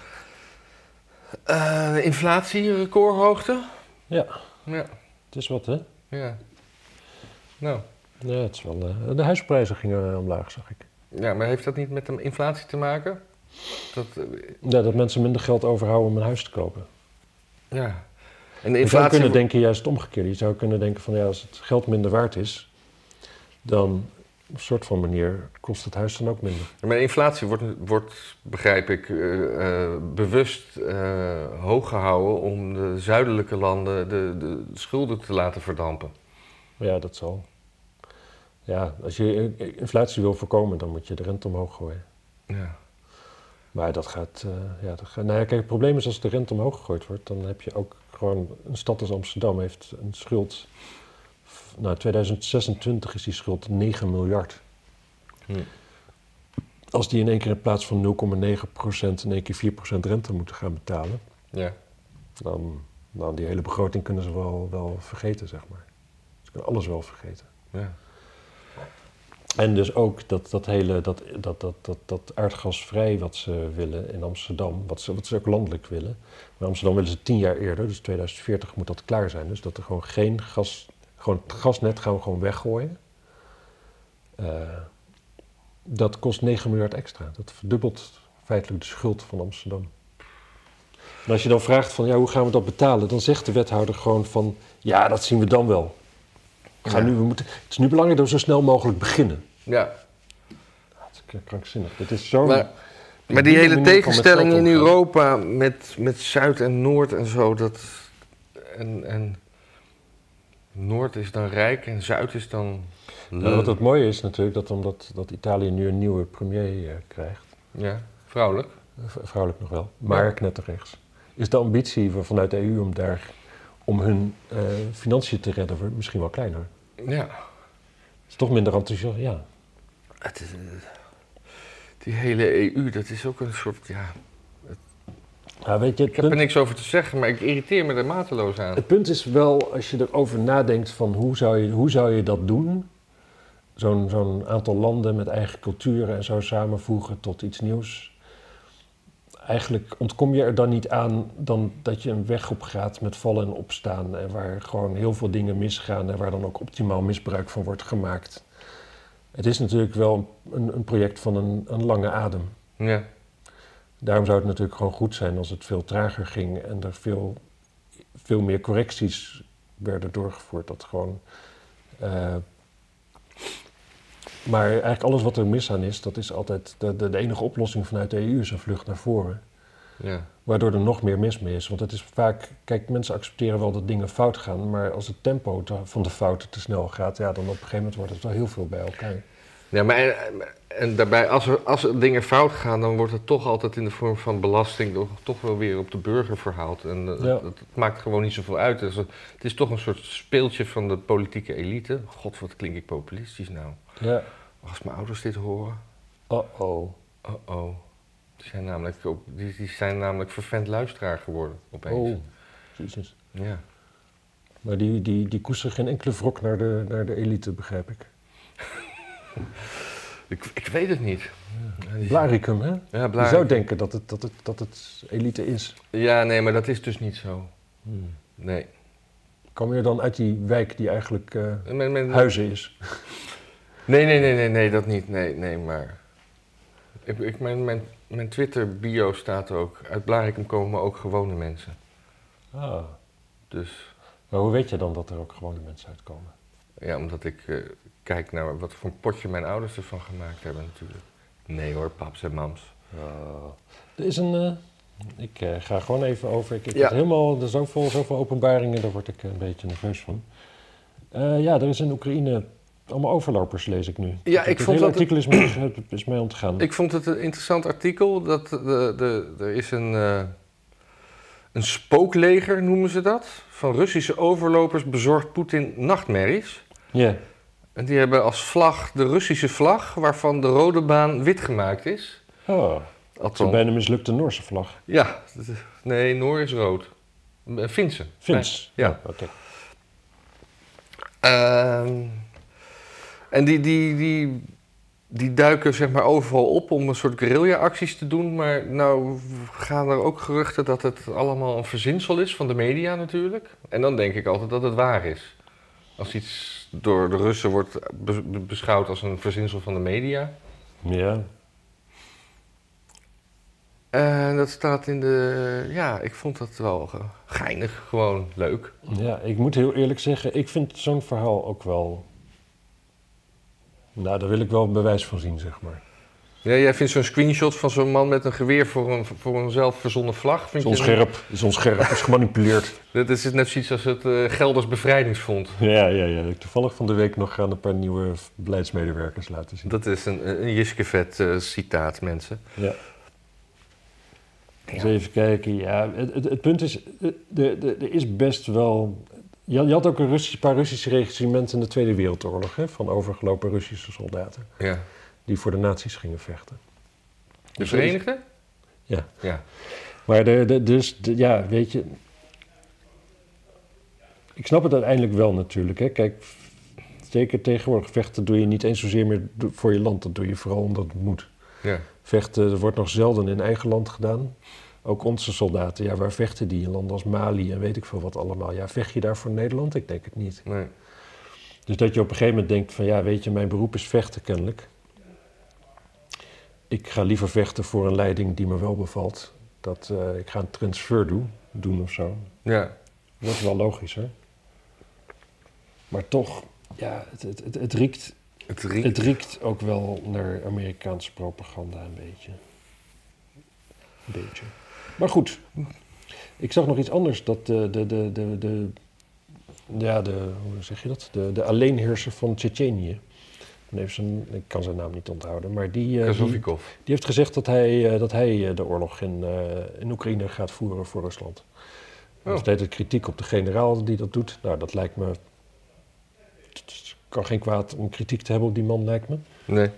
Eh, inflatie, recordhoogte.
Ja,
Ja.
het is wat, hè?
Ja. Nou,
Ja, het is wel, eh, de huisprijzen gingen eh, omlaag, zag ik.
ja, maar heeft dat niet met de inflatie te maken? Dat, eh,
Ja, dat mensen minder geld overhouden om een huis te kopen.
ja. En de
Je zou kunnen
inflatie...
denken juist het omgekeerde. Je zou kunnen denken van ja, als het geld minder waard is, dan op een soort van manier kost het huis dan ook minder.
Maar de inflatie wordt, wordt begrijp ik, eh, eh, bewust eh, hoog gehouden om de zuidelijke landen de, de schulden te laten verdampen.
Maar ja, dat zal. Ja, als je eh, inflatie wil voorkomen, dan moet je de rente omhoog gooien.
Ja.
Maar dat gaat, eh, ja, dat gaat... Nou ja, kijk, het probleem is als de rente omhoog gegooid wordt, dan heb je ook gewoon... Een stad als Amsterdam heeft een schuld... v- Nou, 2026 is die schuld 9 miljard.
Hm.
Als die in één keer in plaats van 0,9% in één keer 4% rente moeten gaan betalen...
ja.
dan, dan die hele begroting kunnen ze wel, wel vergeten, zeg maar. Ze kunnen alles wel vergeten.
ja.
En dus ook dat, dat hele dat, dat, dat, dat, dat aardgasvrij wat ze willen in Amsterdam, wat ze, wat ze ook landelijk willen. Maar Amsterdam willen ze tien jaar eerder, dus 2040 moet dat klaar zijn. Dus dat er gewoon geen gas, gewoon het gasnet gaan we gewoon weggooien. Eh, dat kost 9 miljard extra. Dat verdubbelt feitelijk de schuld van Amsterdam. En als je dan vraagt van ja, hoe gaan we dat betalen, dan zegt de wethouder gewoon van ja, dat zien we dan wel. We gaan
Ja.
nu, we moeten, het is nu belangrijk dat we zo snel mogelijk beginnen.
ja.
Het is krankzinnig. Dit is zo.
Maar, maar die hele tegenstelling in Europa met, met Zuid en Noord en zo, dat. En, en Noord is dan rijk en Zuid is dan.
Nou, wat het mooie is natuurlijk dat omdat dat Italië nu een nieuwe premier eh, krijgt, eh,
Ja, vrouwelijk.
v- vrouwelijk nog wel, maar knetterrechts, is de ambitie van- vanuit de EU om daar om hun eh, financiën te redden wordt misschien wel kleiner.
Ja.
Het is toch minder enthousiast. Ja,
Het is, eh, die hele EU, dat is ook een soort. Ja,
Ja, weet je, het
ik heb er
punt,
niks over te zeggen, maar ik irriteer me er mateloos aan.
het punt is wel als je erover nadenkt van hoe zou je, hoe zou je dat doen? Zo'n zo'n aantal landen met eigen culturen en zo samenvoegen tot iets nieuws. eigenlijk ontkom je er dan niet aan dan dat je een weg op gaat met vallen en opstaan. En waar gewoon heel veel dingen misgaan en waar dan ook optimaal misbruik van wordt gemaakt. Het is natuurlijk wel een, een project van een, een lange adem.
Ja.
Daarom zou het natuurlijk gewoon goed zijn als het veel trager ging en er veel, veel meer correcties werden doorgevoerd. Dat gewoon. eh, maar eigenlijk alles wat er mis aan is, dat is altijd de, de, de enige oplossing vanuit de EU is een vlucht naar voren.
ja.
Waardoor er nog meer mis mee is. Want het is vaak, kijk, mensen accepteren wel dat dingen fout gaan, maar als het tempo te- van de fouten te snel gaat, ja, dan op een gegeven moment wordt het wel heel veel bij elkaar.
Ja, maar en, en daarbij, als er, als er dingen fout gaan, dan wordt het toch altijd in de vorm van belasting toch, toch wel weer op de burger verhaald. En eh,
Ja.
dat, dat maakt gewoon niet zoveel uit. Dus, eh, het is toch een soort speeltje van de politieke elite. God, wat klink ik populistisch nou.
Ja.
Als mijn ouders dit horen,
Oh-oh.
oh-oh. Die zijn namelijk, op, die, die zijn namelijk vervent luisteraar geworden opeens.
Oh. Jezus.
Ja.
Maar die, die, die koesteren geen enkele wrok naar de, naar de elite, begrijp ik.
Ik, ik weet het niet. Ja, die-
Blaricum, hè?
Ja,
Je
Blaar.
zou denken dat het, dat het, dat het elite is.
Ja, nee, maar dat is dus niet zo. Hmm. Nee.
Kom je dan uit die wijk die eigenlijk eh,
Men- men-
huizen is?
Nee, nee, nee, nee, nee, dat niet. Nee, nee, maar... Ik, ik, mijn mijn, mijn Twitter-bio staat ook... Uit Blarikum komen ook gewone mensen.
Ah.
Dus
Maar hoe weet je dan dat er ook gewone mensen uitkomen?
Ja, omdat ik eh, kijk naar wat voor een potje mijn ouders ervan gemaakt hebben natuurlijk. Nee hoor, paps en mams. Ah.
Er is een. eh, ik eh, ga gewoon even over. Ik, ik
Ja.
word helemaal. Er is zoveel, zoveel openbaringen, daar word ik een beetje nerveus van. Eh, ja, er is in Oekraïne. Allemaal overlopers lees ik nu.
ik
het
vond
hele
dat-
artikel is mij, het is mij ontgaan.
Ik vond het een interessant artikel. Dat de, de, er is een, eh, een spookleger, noemen ze dat. Van Russische overlopers bezorgt Poetin nachtmerries.
Ja,
En die hebben als vlag de Russische vlag, waarvan de rode baan wit gemaakt is.
Oh, het is
Althans,
bijna mislukte Noorse vlag.
ja. dat is- Nee, Noor is rood. Eh, Finse.
Fins.
Ja.
Oké.
Ehm, en die, die, die, die duiken zeg maar overal op om een soort guerrilla-acties te doen. Maar nou gaan er ook geruchten dat het allemaal een verzinsel is van de media natuurlijk. En dan denk ik altijd dat het waar is. Als iets door de Russen wordt be- be- beschouwd als een verzinsel van de media.
Ja.
En dat staat in de... Ja, ik vond dat wel ge- geinig. Gewoon leuk.
ja, ik moet heel eerlijk zeggen, ik vind zo'n verhaal ook wel. Nou, daar wil ik wel een bewijs van zien, zeg maar.
Ja, jij vindt zo'n screenshot van zo'n man met een geweer voor een, voor een zelfverzonnen vlag...
Het
Vind
is onscherp, het is onscherp, het is gemanipuleerd.
Dat is net zoiets als het eh, Gelders Bevrijdingsfonds.
Ja, ja, ja. Toevallig van de week nog gaan een paar nieuwe beleidsmedewerkers laten zien.
Dat is een, een Jiskevet eh, citaat, mensen.
Ja. Eens Dus even kijken. Ja, het, het, het punt is, eh, de- de- er is best wel... Je, je had ook een Russisch, paar Russische regimenten in de Tweede Wereldoorlog... Hè, van overgelopen Russische soldaten
Ja.
die voor de nazi's gingen vechten.
De Verenigde?
Ja.
Ja.
Maar de, de, dus, de- ja, weet je... Ik snap het uiteindelijk wel natuurlijk. Hè. Kijk, zeker tegenwoordig vechten doe je niet eens zozeer meer do- voor je land. Dat doe je vooral omdat het moet.
ja.
Vechten er wordt nog zelden in eigen land gedaan. Ook onze soldaten, ja, waar vechten die in landen als Mali en weet ik veel wat allemaal? Ja, vecht je daar voor Nederland? Ik denk het niet.
Nee.
Dus dat je op een gegeven moment denkt van, ja, weet je, mijn beroep is vechten kennelijk. Ik ga liever vechten voor een leiding die me wel bevalt. Dat, eh, ik ga een transfer doen, doen of zo.
Ja.
Dat is wel logischer. Maar toch, ja, het, het, het, het, riekt,
Het riekt.
het riekt ook wel naar Amerikaanse propaganda een beetje. Een beetje. Maar goed, ik zag nog iets anders. Dat de, de, de, de, de, ja, de, hoe zeg je dat? De, de alleenheerser van Tsjetsjenië. En heeft zijn, ik kan zijn naam niet onthouden, maar die, eh, die, die
Kazovikov.
heeft gezegd dat hij, eh, dat hij eh, de oorlog in, eh, in Oekraïne gaat voeren voor Rusland. Er is
Oh.
de hele tijd kritiek op de generaal die dat doet. Nou, dat lijkt me. Het kan geen kwaad om kritiek te hebben op die man, lijkt me.
Nee.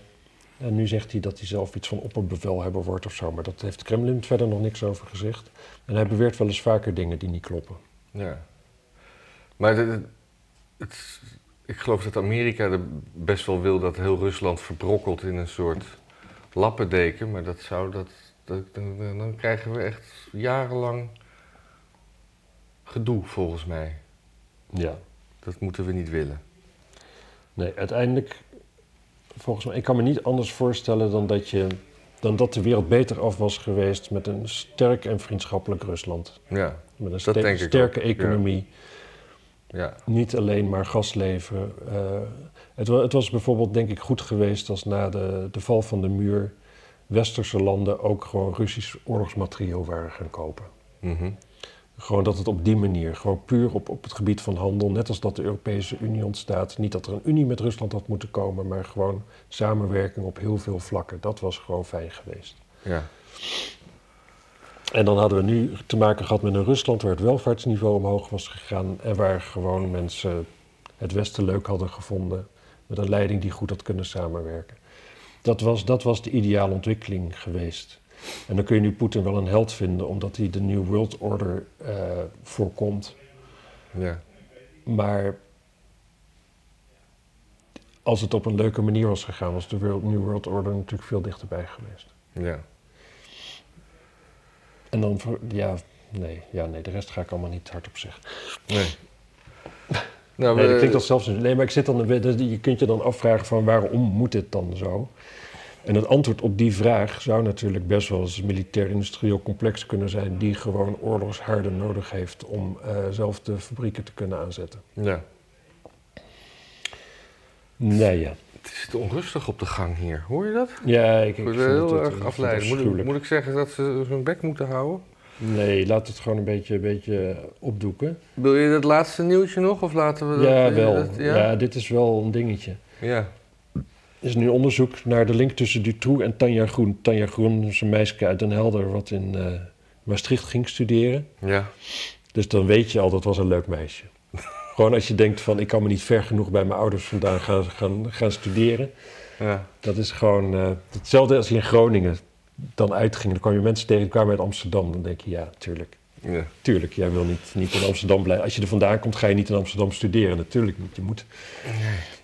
En nu zegt hij dat hij zelf iets van opperbevelhebber wordt of zo. Maar dat heeft Kremlin verder nog niks over gezegd. En hij beweert wel eens vaker dingen die niet kloppen.
Ja. Maar de- de- het, ik geloof dat Amerika er best wel wil dat heel Rusland verbrokkelt in een soort lappendeken. Maar dat zou dat. dat dan, dan- dan krijgen we echt jarenlang gedoe, volgens mij.
Ja.
Dat moeten we niet willen.
Nee, uiteindelijk, volgens mij, ik kan me niet anders voorstellen dan dat, je, dan dat de wereld beter af was geweest met een sterk en vriendschappelijk Rusland.
Ja.
Met een
denk ik ook,
sterke
ja.
economie.
Ja.
Niet alleen maar gas leveren. Eh, het, wa- het was bijvoorbeeld, denk ik, goed geweest als na de, de val van de muur westerse landen ook gewoon Russisch oorlogsmaterieel waren gaan kopen.
Mhm.
Gewoon dat het op die manier, gewoon puur op, op het gebied van handel, net als dat de Europese Unie ontstaat. Niet dat er een Unie met Rusland had moeten komen, maar gewoon samenwerking op heel veel vlakken. Dat was gewoon fijn geweest.
Ja.
En dan hadden we nu te maken gehad met een Rusland waar het welvaartsniveau omhoog was gegaan en waar gewoon mensen het Westen leuk hadden gevonden met een leiding die goed had kunnen samenwerken. Dat was, dat was de ideale ontwikkeling geweest. En dan kun je nu Poetin wel een held vinden omdat hij de New World Order eh, voorkomt.
Ja.
Maar als het op een leuke manier was gegaan, was de World, New World Order natuurlijk veel dichterbij geweest.
Ja.
En dan, voor- ja, nee, ja, nee, de rest ga ik allemaal niet hardop zeggen.
Nee. Nou,
Nee,
we-
dat klinkt als zelfs. Nee, maar ik zit dan. een beetje- Je kunt je dan afvragen van waarom moet dit dan zo? En het antwoord op die vraag zou natuurlijk best wel eens een militair-industrieel complex kunnen zijn. die gewoon oorlogsharden nodig heeft. om eh, zelf de fabrieken te kunnen aanzetten.
Ja.
Nee, ja.
Het is onrustig op de gang hier, hoor je dat?
Ja, ik,
Ik
ik
word
vind
heel
het- eh, ik
erg
vind het
afleidend. Moet ik,
afschuwelijk.
moet ik zeggen dat ze hun bek moeten houden?
Nee, laat het gewoon een beetje, een beetje opdoeken.
Wil je dat laatste nieuwtje nog? Of laten we dat...
ja, wel.
dat-
ja? dit is wel een dingetje.
ja.
Er is nu onderzoek naar de link tussen Dutroux en Tanja Groen. Tanja Groen is een meisje uit Den Helder wat in eh, Maastricht ging studeren.
Ja.
Dus dan weet je al, dat was een leuk meisje. Gewoon als je denkt van, ik kan me niet ver genoeg bij mijn ouders vandaan gaan, gaan, gaan studeren.
Ja.
Dat is gewoon eh, hetzelfde als je in Groningen dan uitging. Dan kwam je mensen tegen, die kwamen uit Amsterdam. Dan denk je, ja, tuurlijk.
ja.
Tuurlijk, jij wil niet, niet in Amsterdam blijven. Als je er vandaan komt, ga je niet in Amsterdam studeren. Natuurlijk niet. Je moet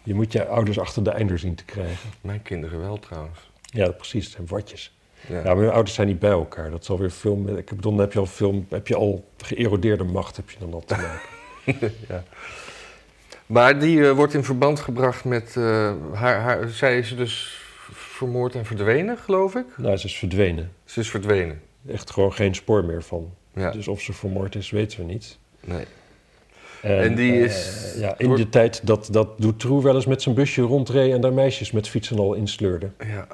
je, moet je ouders achter de einder zien te krijgen.
Mijn kinderen wel trouwens.
Ja, precies. Het zijn watjes.
Ja.
Ja, maar hun ouders zijn niet bij elkaar. Dat is alweer veel meer... Ik bedoel, dan heb je al veel... Heb je al geërodeerde macht, heb je dan al te maken.
Maar die eh, wordt in verband gebracht met... eh, haar, haar, zij is dus vermoord en verdwenen, geloof ik?
nou, ze is verdwenen.
Ze is verdwenen.
Echt gewoon geen spoor meer van.
Ja.
Dus of ze vermoord is, weten we niet.
Nee. En die
eh,
is-
ja, in de tijd dat, dat Dutroux wel eens met zijn busje rondreed... en daar meisjes met fietsen al insleurde.
Ja.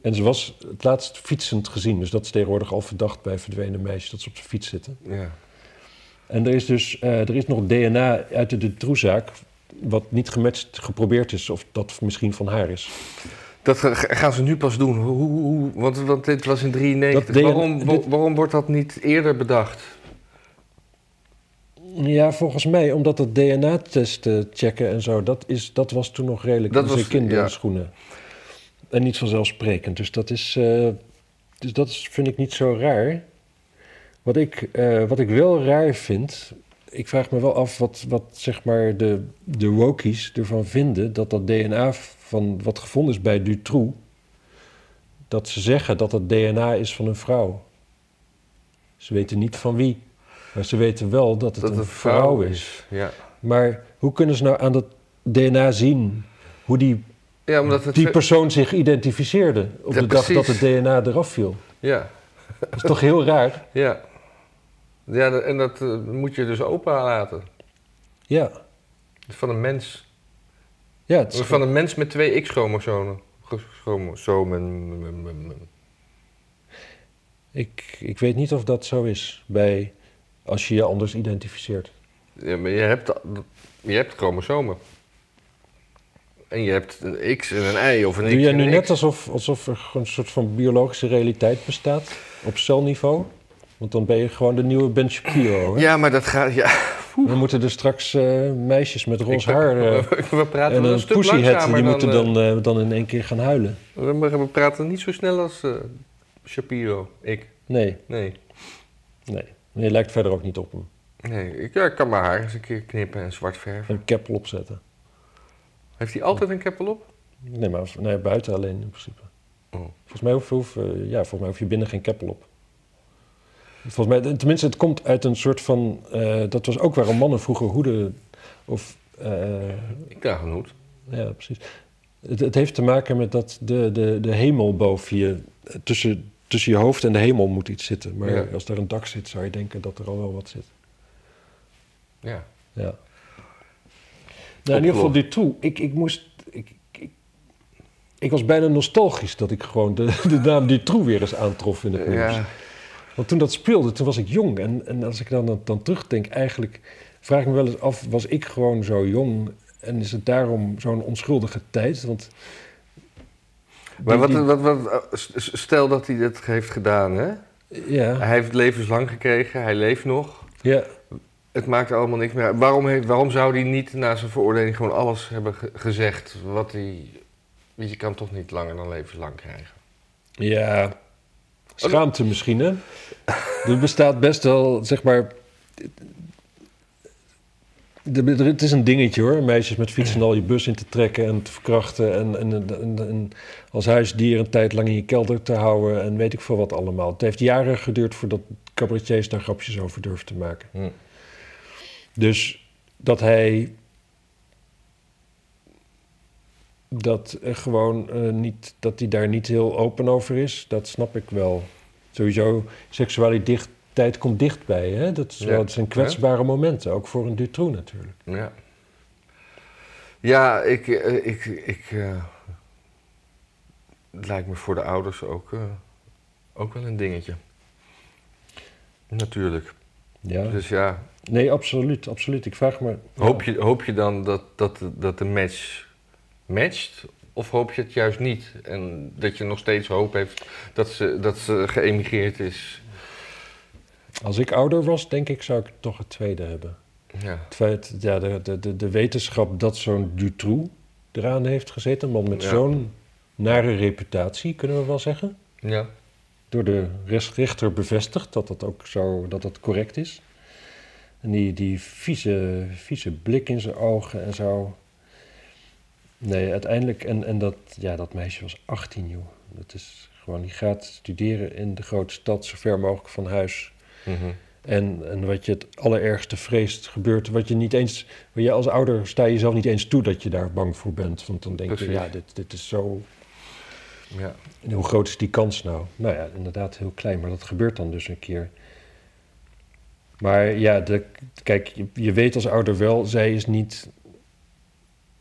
En ze was het laatst fietsend gezien. Dus dat is tegenwoordig al verdacht bij verdwenen meisjes dat ze op de fiets zitten.
Ja.
En er is dus eh, er is nog DNA uit de Dutroux-zaak... wat niet gematcht geprobeerd is of dat misschien van haar is.
Dat ga- ga- gaan ze nu pas doen. Hoe, hoe, hoe- want, want dit was in 93.
Dat deed-
waarom, wa-
dit-
waarom wordt dat niet eerder bedacht?
Ja, volgens mij, omdat dat DNA-testen checken en zo... dat, is, dat was toen nog redelijk
Dat
dat in zijn
was-
kinderschoenen. En niet vanzelfsprekend. Dus dat, is, eh, dus dat is, vind ik niet zo raar. Wat ik, eh, wat ik wel raar vind... Ik vraag me wel af wat, wat zeg maar de, de wokies ervan vinden... dat dat DNA van wat gevonden is bij Dutroux... dat ze zeggen dat dat DNA is van een vrouw. Ze weten niet van wie. Maar ze weten wel dat het
Dat
een,
het
vrouw, is.
Ja.
Maar hoe kunnen ze nou aan dat DNA zien hoe die,
Ja, omdat het.
die persoon zich identificeerde op
Ja,
de dag dat
precies.
het DNA eraf viel?
ja,
Dat is toch heel raar?
ja. Ja, dat- en dat eh, moet je dus open laten.
Ja.
Van een mens.
Ja, het is
Van een mens met twee X-chromosomen. G- Chromosomen. m- m- m- m-
Ik, ik weet niet of dat zo is bij als je je anders identificeert.
Ja, maar je hebt, je hebt chromosomen. En je hebt een X en een Y of een X.
Doe jij
en
nu
een
net
X.
alsof, alsof er gewoon een soort van biologische realiteit bestaat op celniveau? Want dan ben je gewoon de nieuwe Ben Shapiro. Hè?
Ja, maar dat gaat. Ja.
Dan moeten er straks eh, meisjes met roze
Ik-
haar eh,
we praten
en
wel
een
een stuk
pussyhead,
langzamer
die moeten
dan, eh,
dan, eh, dan in één keer gaan huilen.
We, we praten niet zo snel als eh, Shapiro. Ik.
Nee,
Nee.
nee. Nee, lijkt verder ook niet op hem.
Nee. Ik, ja, ik kan mijn haar eens een keer knippen en zwart verven.
Een keppel opzetten.
Heeft hij altijd een keppel op?
Nee, maar v- nee, buiten alleen in principe.
Oh.
Volgens, mij hoef, hoef, eh, ja, volgens mij hoef je binnen geen keppel op. Volgens mij, eh, tenminste, het komt uit een soort van... eh, dat was ook waarom mannen vroeger hoeden... Of, eh,
Ik draag een hoed.
ja, precies. Het, het heeft te maken met dat de, de, de hemel boven je... eh, Tussen, tussen je hoofd en de hemel moet iets zitten. Maar
Ja.
als daar een dak zit, zou je denken dat er al wel wat zit.
Ja.
Ja. Nou, in ieder geval
Opgelost.
dit toe. Ik, ik moest... Ik, ik, ik was bijna nostalgisch dat ik gewoon de, de naam Dutroux weer eens aantrof in het nieuws.
Ja.
Want toen dat speelde, toen was ik jong. En, en als ik dan, dan, dan terugdenk, eigenlijk vraag ik me wel eens af... was ik gewoon zo jong en is het daarom zo'n onschuldige tijd? Want
Maar wat,
die-
wat, wat, eh, s- s- stel dat hij dit heeft gedaan, hè?
ja,
Hij heeft levenslang gekregen, hij leeft nog.
ja,
Het maakt allemaal niks meer uit. Waarom, heeft, waarom zou hij niet na zijn veroordeling gewoon alles hebben ge- gezegd wat hij... Want je kan toch niet langer dan levenslang krijgen.
ja, schaamte misschien, hè? Er bestaat best wel, zeg maar... er- er- Het is een dingetje hoor, meisjes met fietsen al je bus in te trekken en te verkrachten. En, en, en, en als huisdier een tijd lang in je kelder te houden en weet ik veel wat allemaal. Het heeft jaren geduurd voordat cabaretiers daar grapjes over durven te maken.
Hm.
Dus dat hij dat eh, gewoon eh, niet, dat hij daar niet heel open over is, dat snap ik wel. Sowieso, seksualiteit komt dichtbij. Hè? Dat, is
Ja.
wel, dat zijn kwetsbare momenten, ook voor een Dutroux natuurlijk.
Ja. Ja, ik. eh, ik, ik eh, het lijkt me voor de ouders ook, eh, ook wel een dingetje. Natuurlijk.
Ja.
Dus ja,
Nee, absoluut, absoluut. Ik vraag me...
hoop je, hoop je dan dat, dat, dat de match matcht? Of hoop je het juist niet? En dat je nog steeds hoop heeft dat ze, dat ze geëmigreerd is?
Als ik ouder was, denk ik, zou ik toch het tweede hebben.
Ja.
Het feit, ja, de, de, de, de wetenschap dat zo'n Dutroux eraan heeft gezeten, een man met
Ja.
zo'n nare reputatie, kunnen we wel zeggen.
ja.
Door de res- rechter bevestigd dat dat ook zo, dat dat correct is. En die, die vieze, vieze blik in zijn ogen en zo. Nee, uiteindelijk, en, en dat, ja, dat meisje was 18, joh. Dat is gewoon, die gaat studeren in de grote stad, zo ver mogelijk van huis.
Mhm.
En, en wat je het allerergste vreest gebeurt, wat je niet eens, waar je als ouder sta je jezelf niet eens toe dat je daar bang voor bent. Want dan denk je,
Precies.
ja, dit, dit is zo.
ja.
En hoe groot is die kans nou? Nou ja, inderdaad heel klein, maar dat gebeurt dan dus een keer. Maar ja, de, kijk, je, je weet als ouder wel, zij is niet,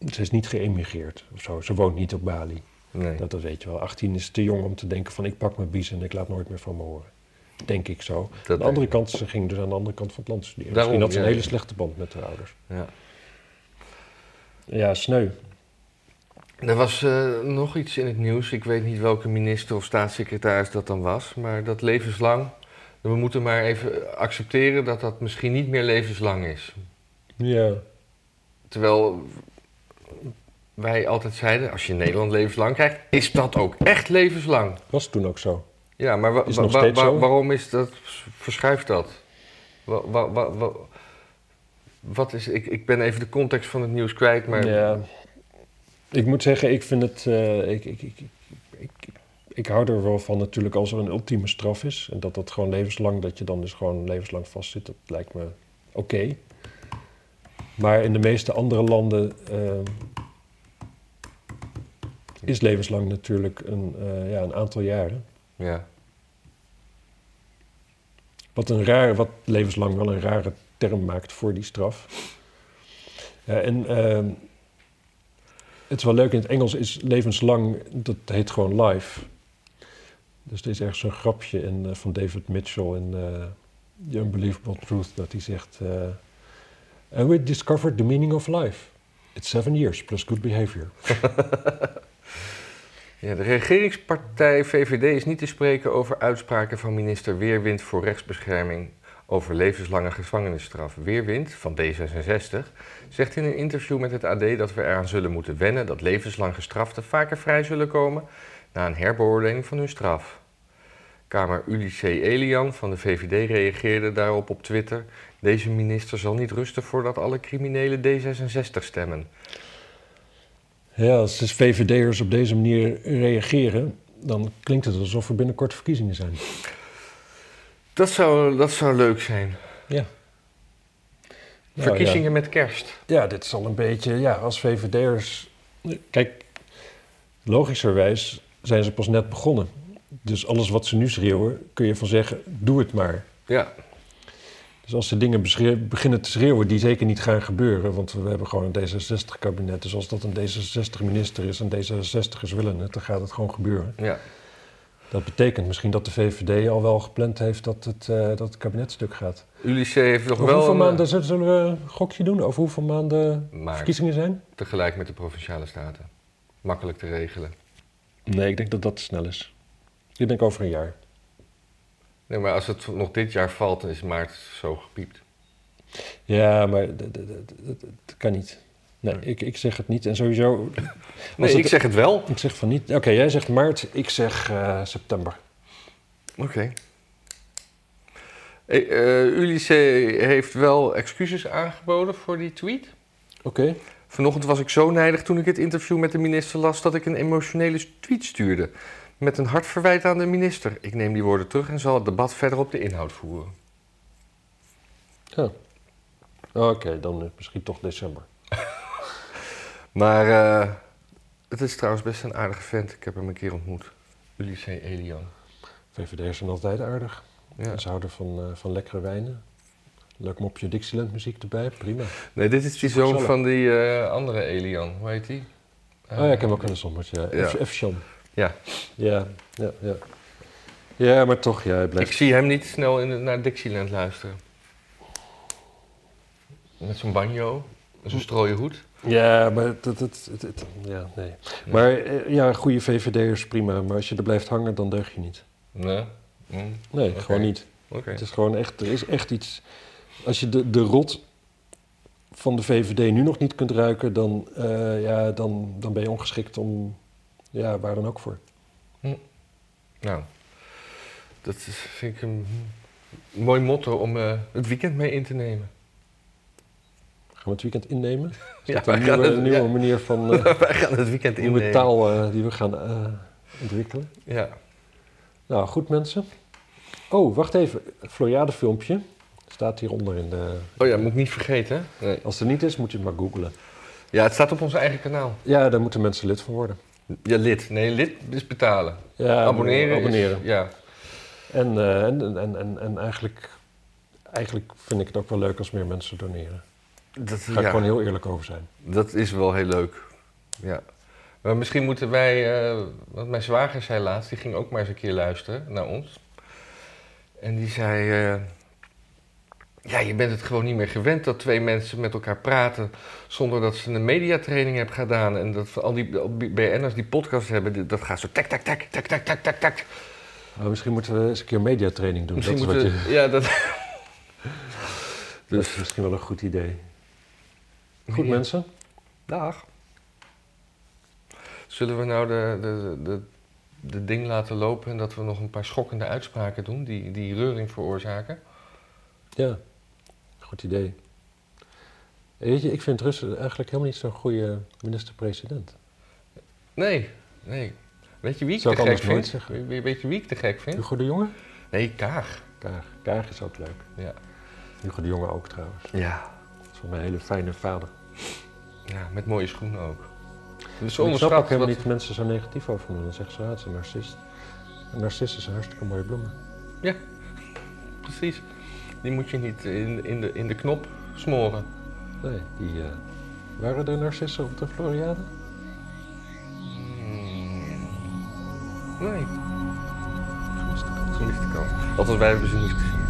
ze is niet geëmigreerd of zo. Ze woont niet op Bali.
Nee.
Dat, dat weet je wel. 18 is te jong om te denken van ik pak mijn bies en ik laat nooit meer van me horen. Denk ik zo. aan
denk
de andere
ik.
kant, ze ging dus aan de andere kant van het land studeren.
Daarom,
Misschien had ze een
ja,
hele
ja.
slechte band met haar ouders.
Ja.
Ja, sneu.
Er was eh, nog iets in het nieuws. Ik weet niet welke minister of staatssecretaris dat dan was. Maar dat levenslang. We moeten maar even accepteren dat dat misschien niet meer levenslang is.
Ja.
Terwijl wij altijd zeiden: als je in Nederland levenslang krijgt, is dat ook echt levenslang.
Was toen ook zo.
Ja, maar wa-
Is
wa-
nog
wa-
steeds
wa-
zo.
waarom is dat, verschuift dat? Wa- wa- wa- wa- wat is, ik, ik ben even de context van het nieuws kwijt, maar
Ja. Ik moet zeggen, ik vind het. eh, ik, ik, ik, ik, ik, ik hou er wel van natuurlijk als er een ultieme straf is. En dat dat gewoon levenslang, dat je dan dus gewoon levenslang vastzit. Dat lijkt me oké. Maar in de meeste andere landen. eh, is levenslang natuurlijk een, eh, ja, een aantal jaren.
ja.
Wat, een rare, wat levenslang wel een rare term maakt voor die straf. Ja, en ehm, het is wel leuk, in het Engels is levenslang, dat heet gewoon life. Dus er is ergens zo'n grapje in, eh, van David Mitchell in eh, The Unbelievable Truth, dat hij zegt... eh, And we discovered the meaning of life. It's seven years plus good behavior.
Ja, de regeringspartij VVD is niet te spreken over uitspraken van minister Weerwind voor rechtsbescherming over levenslange gevangenisstraf. Weerwind van D66 zegt in een interview met het AD dat we eraan zullen moeten wennen dat levenslang gestraften vaker vrij zullen komen na een herbeoordeling van hun straf. Kamer Ulysse Elian van de VVD reageerde daarop op Twitter. Deze minister zal niet rusten voordat alle criminelen D66 stemmen.
Ja, als de VVD'ers op deze manier reageren, dan klinkt het alsof er binnenkort verkiezingen zijn.
Dat zou, dat zou leuk zijn.
Ja. Nou,
Verkiezingen met kerst.
Ja. ja, dit is al een beetje, ja, als VVD'ers... Kijk, logischerwijs zijn ze pas net begonnen. Dus alles wat ze nu schreeuwen, kun je van zeggen, doe het maar.
Ja,
Dus als ze dingen beschre- beginnen te schreeuwen die zeker niet gaan gebeuren... want we hebben gewoon een D66-kabinet. Dus als dat een D66-minister is en D66'ers willen het... dan gaat het gewoon gebeuren.
ja.
Dat betekent misschien dat de VVD al wel gepland heeft dat het, eh, dat het kabinet stuk gaat.
Ulysse heeft nog
Over eh,
wel eh,
hoeveel
een,
maanden zullen zullen we een gokje doen? Over hoeveel maanden
Maart.
verkiezingen zijn?
eh, tegelijk met de provinciale staten. Makkelijk te regelen.
Nee, ik denk dat dat te snel is. Ik denk over een jaar.
Nee, maar als het nog dit jaar valt, dan is maart zo gepiept.
Ja, maar d- d- d- d- d- dat kan niet. Nee, ik, ik zeg het niet. En sowieso...
Nee,
het-
ik zeg het wel. Oké.
Ik zeg van niet... Oké, jij zegt maart, ik zeg eh, september.
Eh, eh, Ulysse heeft wel excuses aangeboden voor die tweet.
Oké.
Vanochtend was ik zo nijdig toen ik het interview met de minister las dat ik een emotionele tweet stuurde. Met een hard verwijt aan de minister. Ik neem die woorden terug en zal het debat verder op de inhoud voeren.
Ja. Oké, dan eh, misschien toch december.
Maar eh, het is trouwens best een aardige vent. Ik heb hem een keer ontmoet. Ulysse Elian.
VVD'ers zijn altijd aardig.
Ja.
Ze houden van, eh, van lekkere wijnen. Leuk mopje Dixieland muziek erbij, prima.
Nee, dit is die
Super
zoon
gezellig.
van die eh, andere Elian. Hoe heet die? Eh,
Oh ja, ik heb hem ook aan de sombert, ja.
Ja.
F- F-Shan.
Ja.
Ja, ja, ja. Ja, maar toch, ja, hij
Ik
blijft...
zie hem niet snel in de- naar Dixieland luisteren. Met zo'n banjo, en zo'n strooien hoed.
Ja, maar dat, dat, het- het- ja, nee. Maar eh, ja, goede VVD'ers, prima. Maar als je er blijft hangen, dan deug je niet.
Nee. Hm,
Nee,
Oké.
gewoon niet.
Oké.
Het is gewoon echt, er is echt iets... Als je de, de rot van de VVD nu nog niet kunt ruiken, dan, eh, ja, dan, dan ben je ongeschikt om... Ja, waar dan ook voor.
Nou, dat is, vind ik een mooi motto om eh, het weekend mee in te nemen.
Gaan we het weekend innemen?
Ja,
Met
wij
een
gaan
nieuwe,
het-
nieuwe
ja.
manier van eh
Wij gaan het weekend
nieuwe
innemen.
taal eh, die we gaan eh, ontwikkelen.
Ja.
Nou, goed mensen. Oh, wacht even. Het Floriade-filmpje staat hieronder in de...
Oh ja, moet ik niet vergeten. hè? Nee.
Als er niet is, moet je het maar googlen.
Ja, het staat op ons eigen kanaal.
Ja, daar moeten mensen lid van worden.
Ja, lid. Nee, lid is betalen.
Ja, eh,
abonneren. is-
abonneren.
ja.
En, eh, en, en, en, en eigenlijk, eigenlijk vind ik het ook wel leuk als meer mensen doneren.
Dat,
Daar ga ik
ja.
gewoon heel eerlijk over zijn.
Dat is wel heel leuk. Ja. Maar misschien moeten wij, eh want mijn zwager zei laatst, die ging ook maar eens een keer luisteren naar ons. En die zei, eh, ja, je bent het gewoon niet meer gewend dat twee mensen met elkaar praten zonder dat ze een mediatraining hebben gedaan. En dat al die BN'ers die podcast hebben, die- dat gaat zo tak, tak, tak, tak, tak, tak, tak, tak.
Maar misschien moeten we eens een keer mediatraining doen.
Misschien
dat, is
moeten,
wat je,
ja, dat,
dat is misschien wel een goed idee. Goed
Ja.
mensen.
Dag. Zullen we nou de, de, de, de ding laten lopen en dat we nog een paar schokkende uitspraken doen die, die reuring veroorzaken?
Ja, goed idee. En Weet je, ik vind Russen eigenlijk helemaal niet zo'n goede minister-president.
Nee, nee. Weet je wie ik
Zou
te
ik
gek
anders nooit
vind?
zeggen.
Weet- Weet je wie ik te gek vind?
Hm? Hugo de Jonge?
Nee, Kaag.
Kaag. Kaag is ook leuk.
Ja.
Hugo de Jonge ook trouwens.
Ja.
Dat is voor mij een hele fijne vader.
ja met mooie schoenen ook. Dus
ik snap ook
onderschat
helemaal
wat...
niet dat mensen zo negatief over hem doen. Dan zeggen ze, ah, het is een narcist. Een narcist is een hartstikke mooie bloemen.
Ja, precies. Die moet je niet in, in, de, in de knop smoren.
Nee, die... eh, waren er narcissen op de Floriade?
Nee. Gemiste kans. Althans, wij hebben ze niet gezien.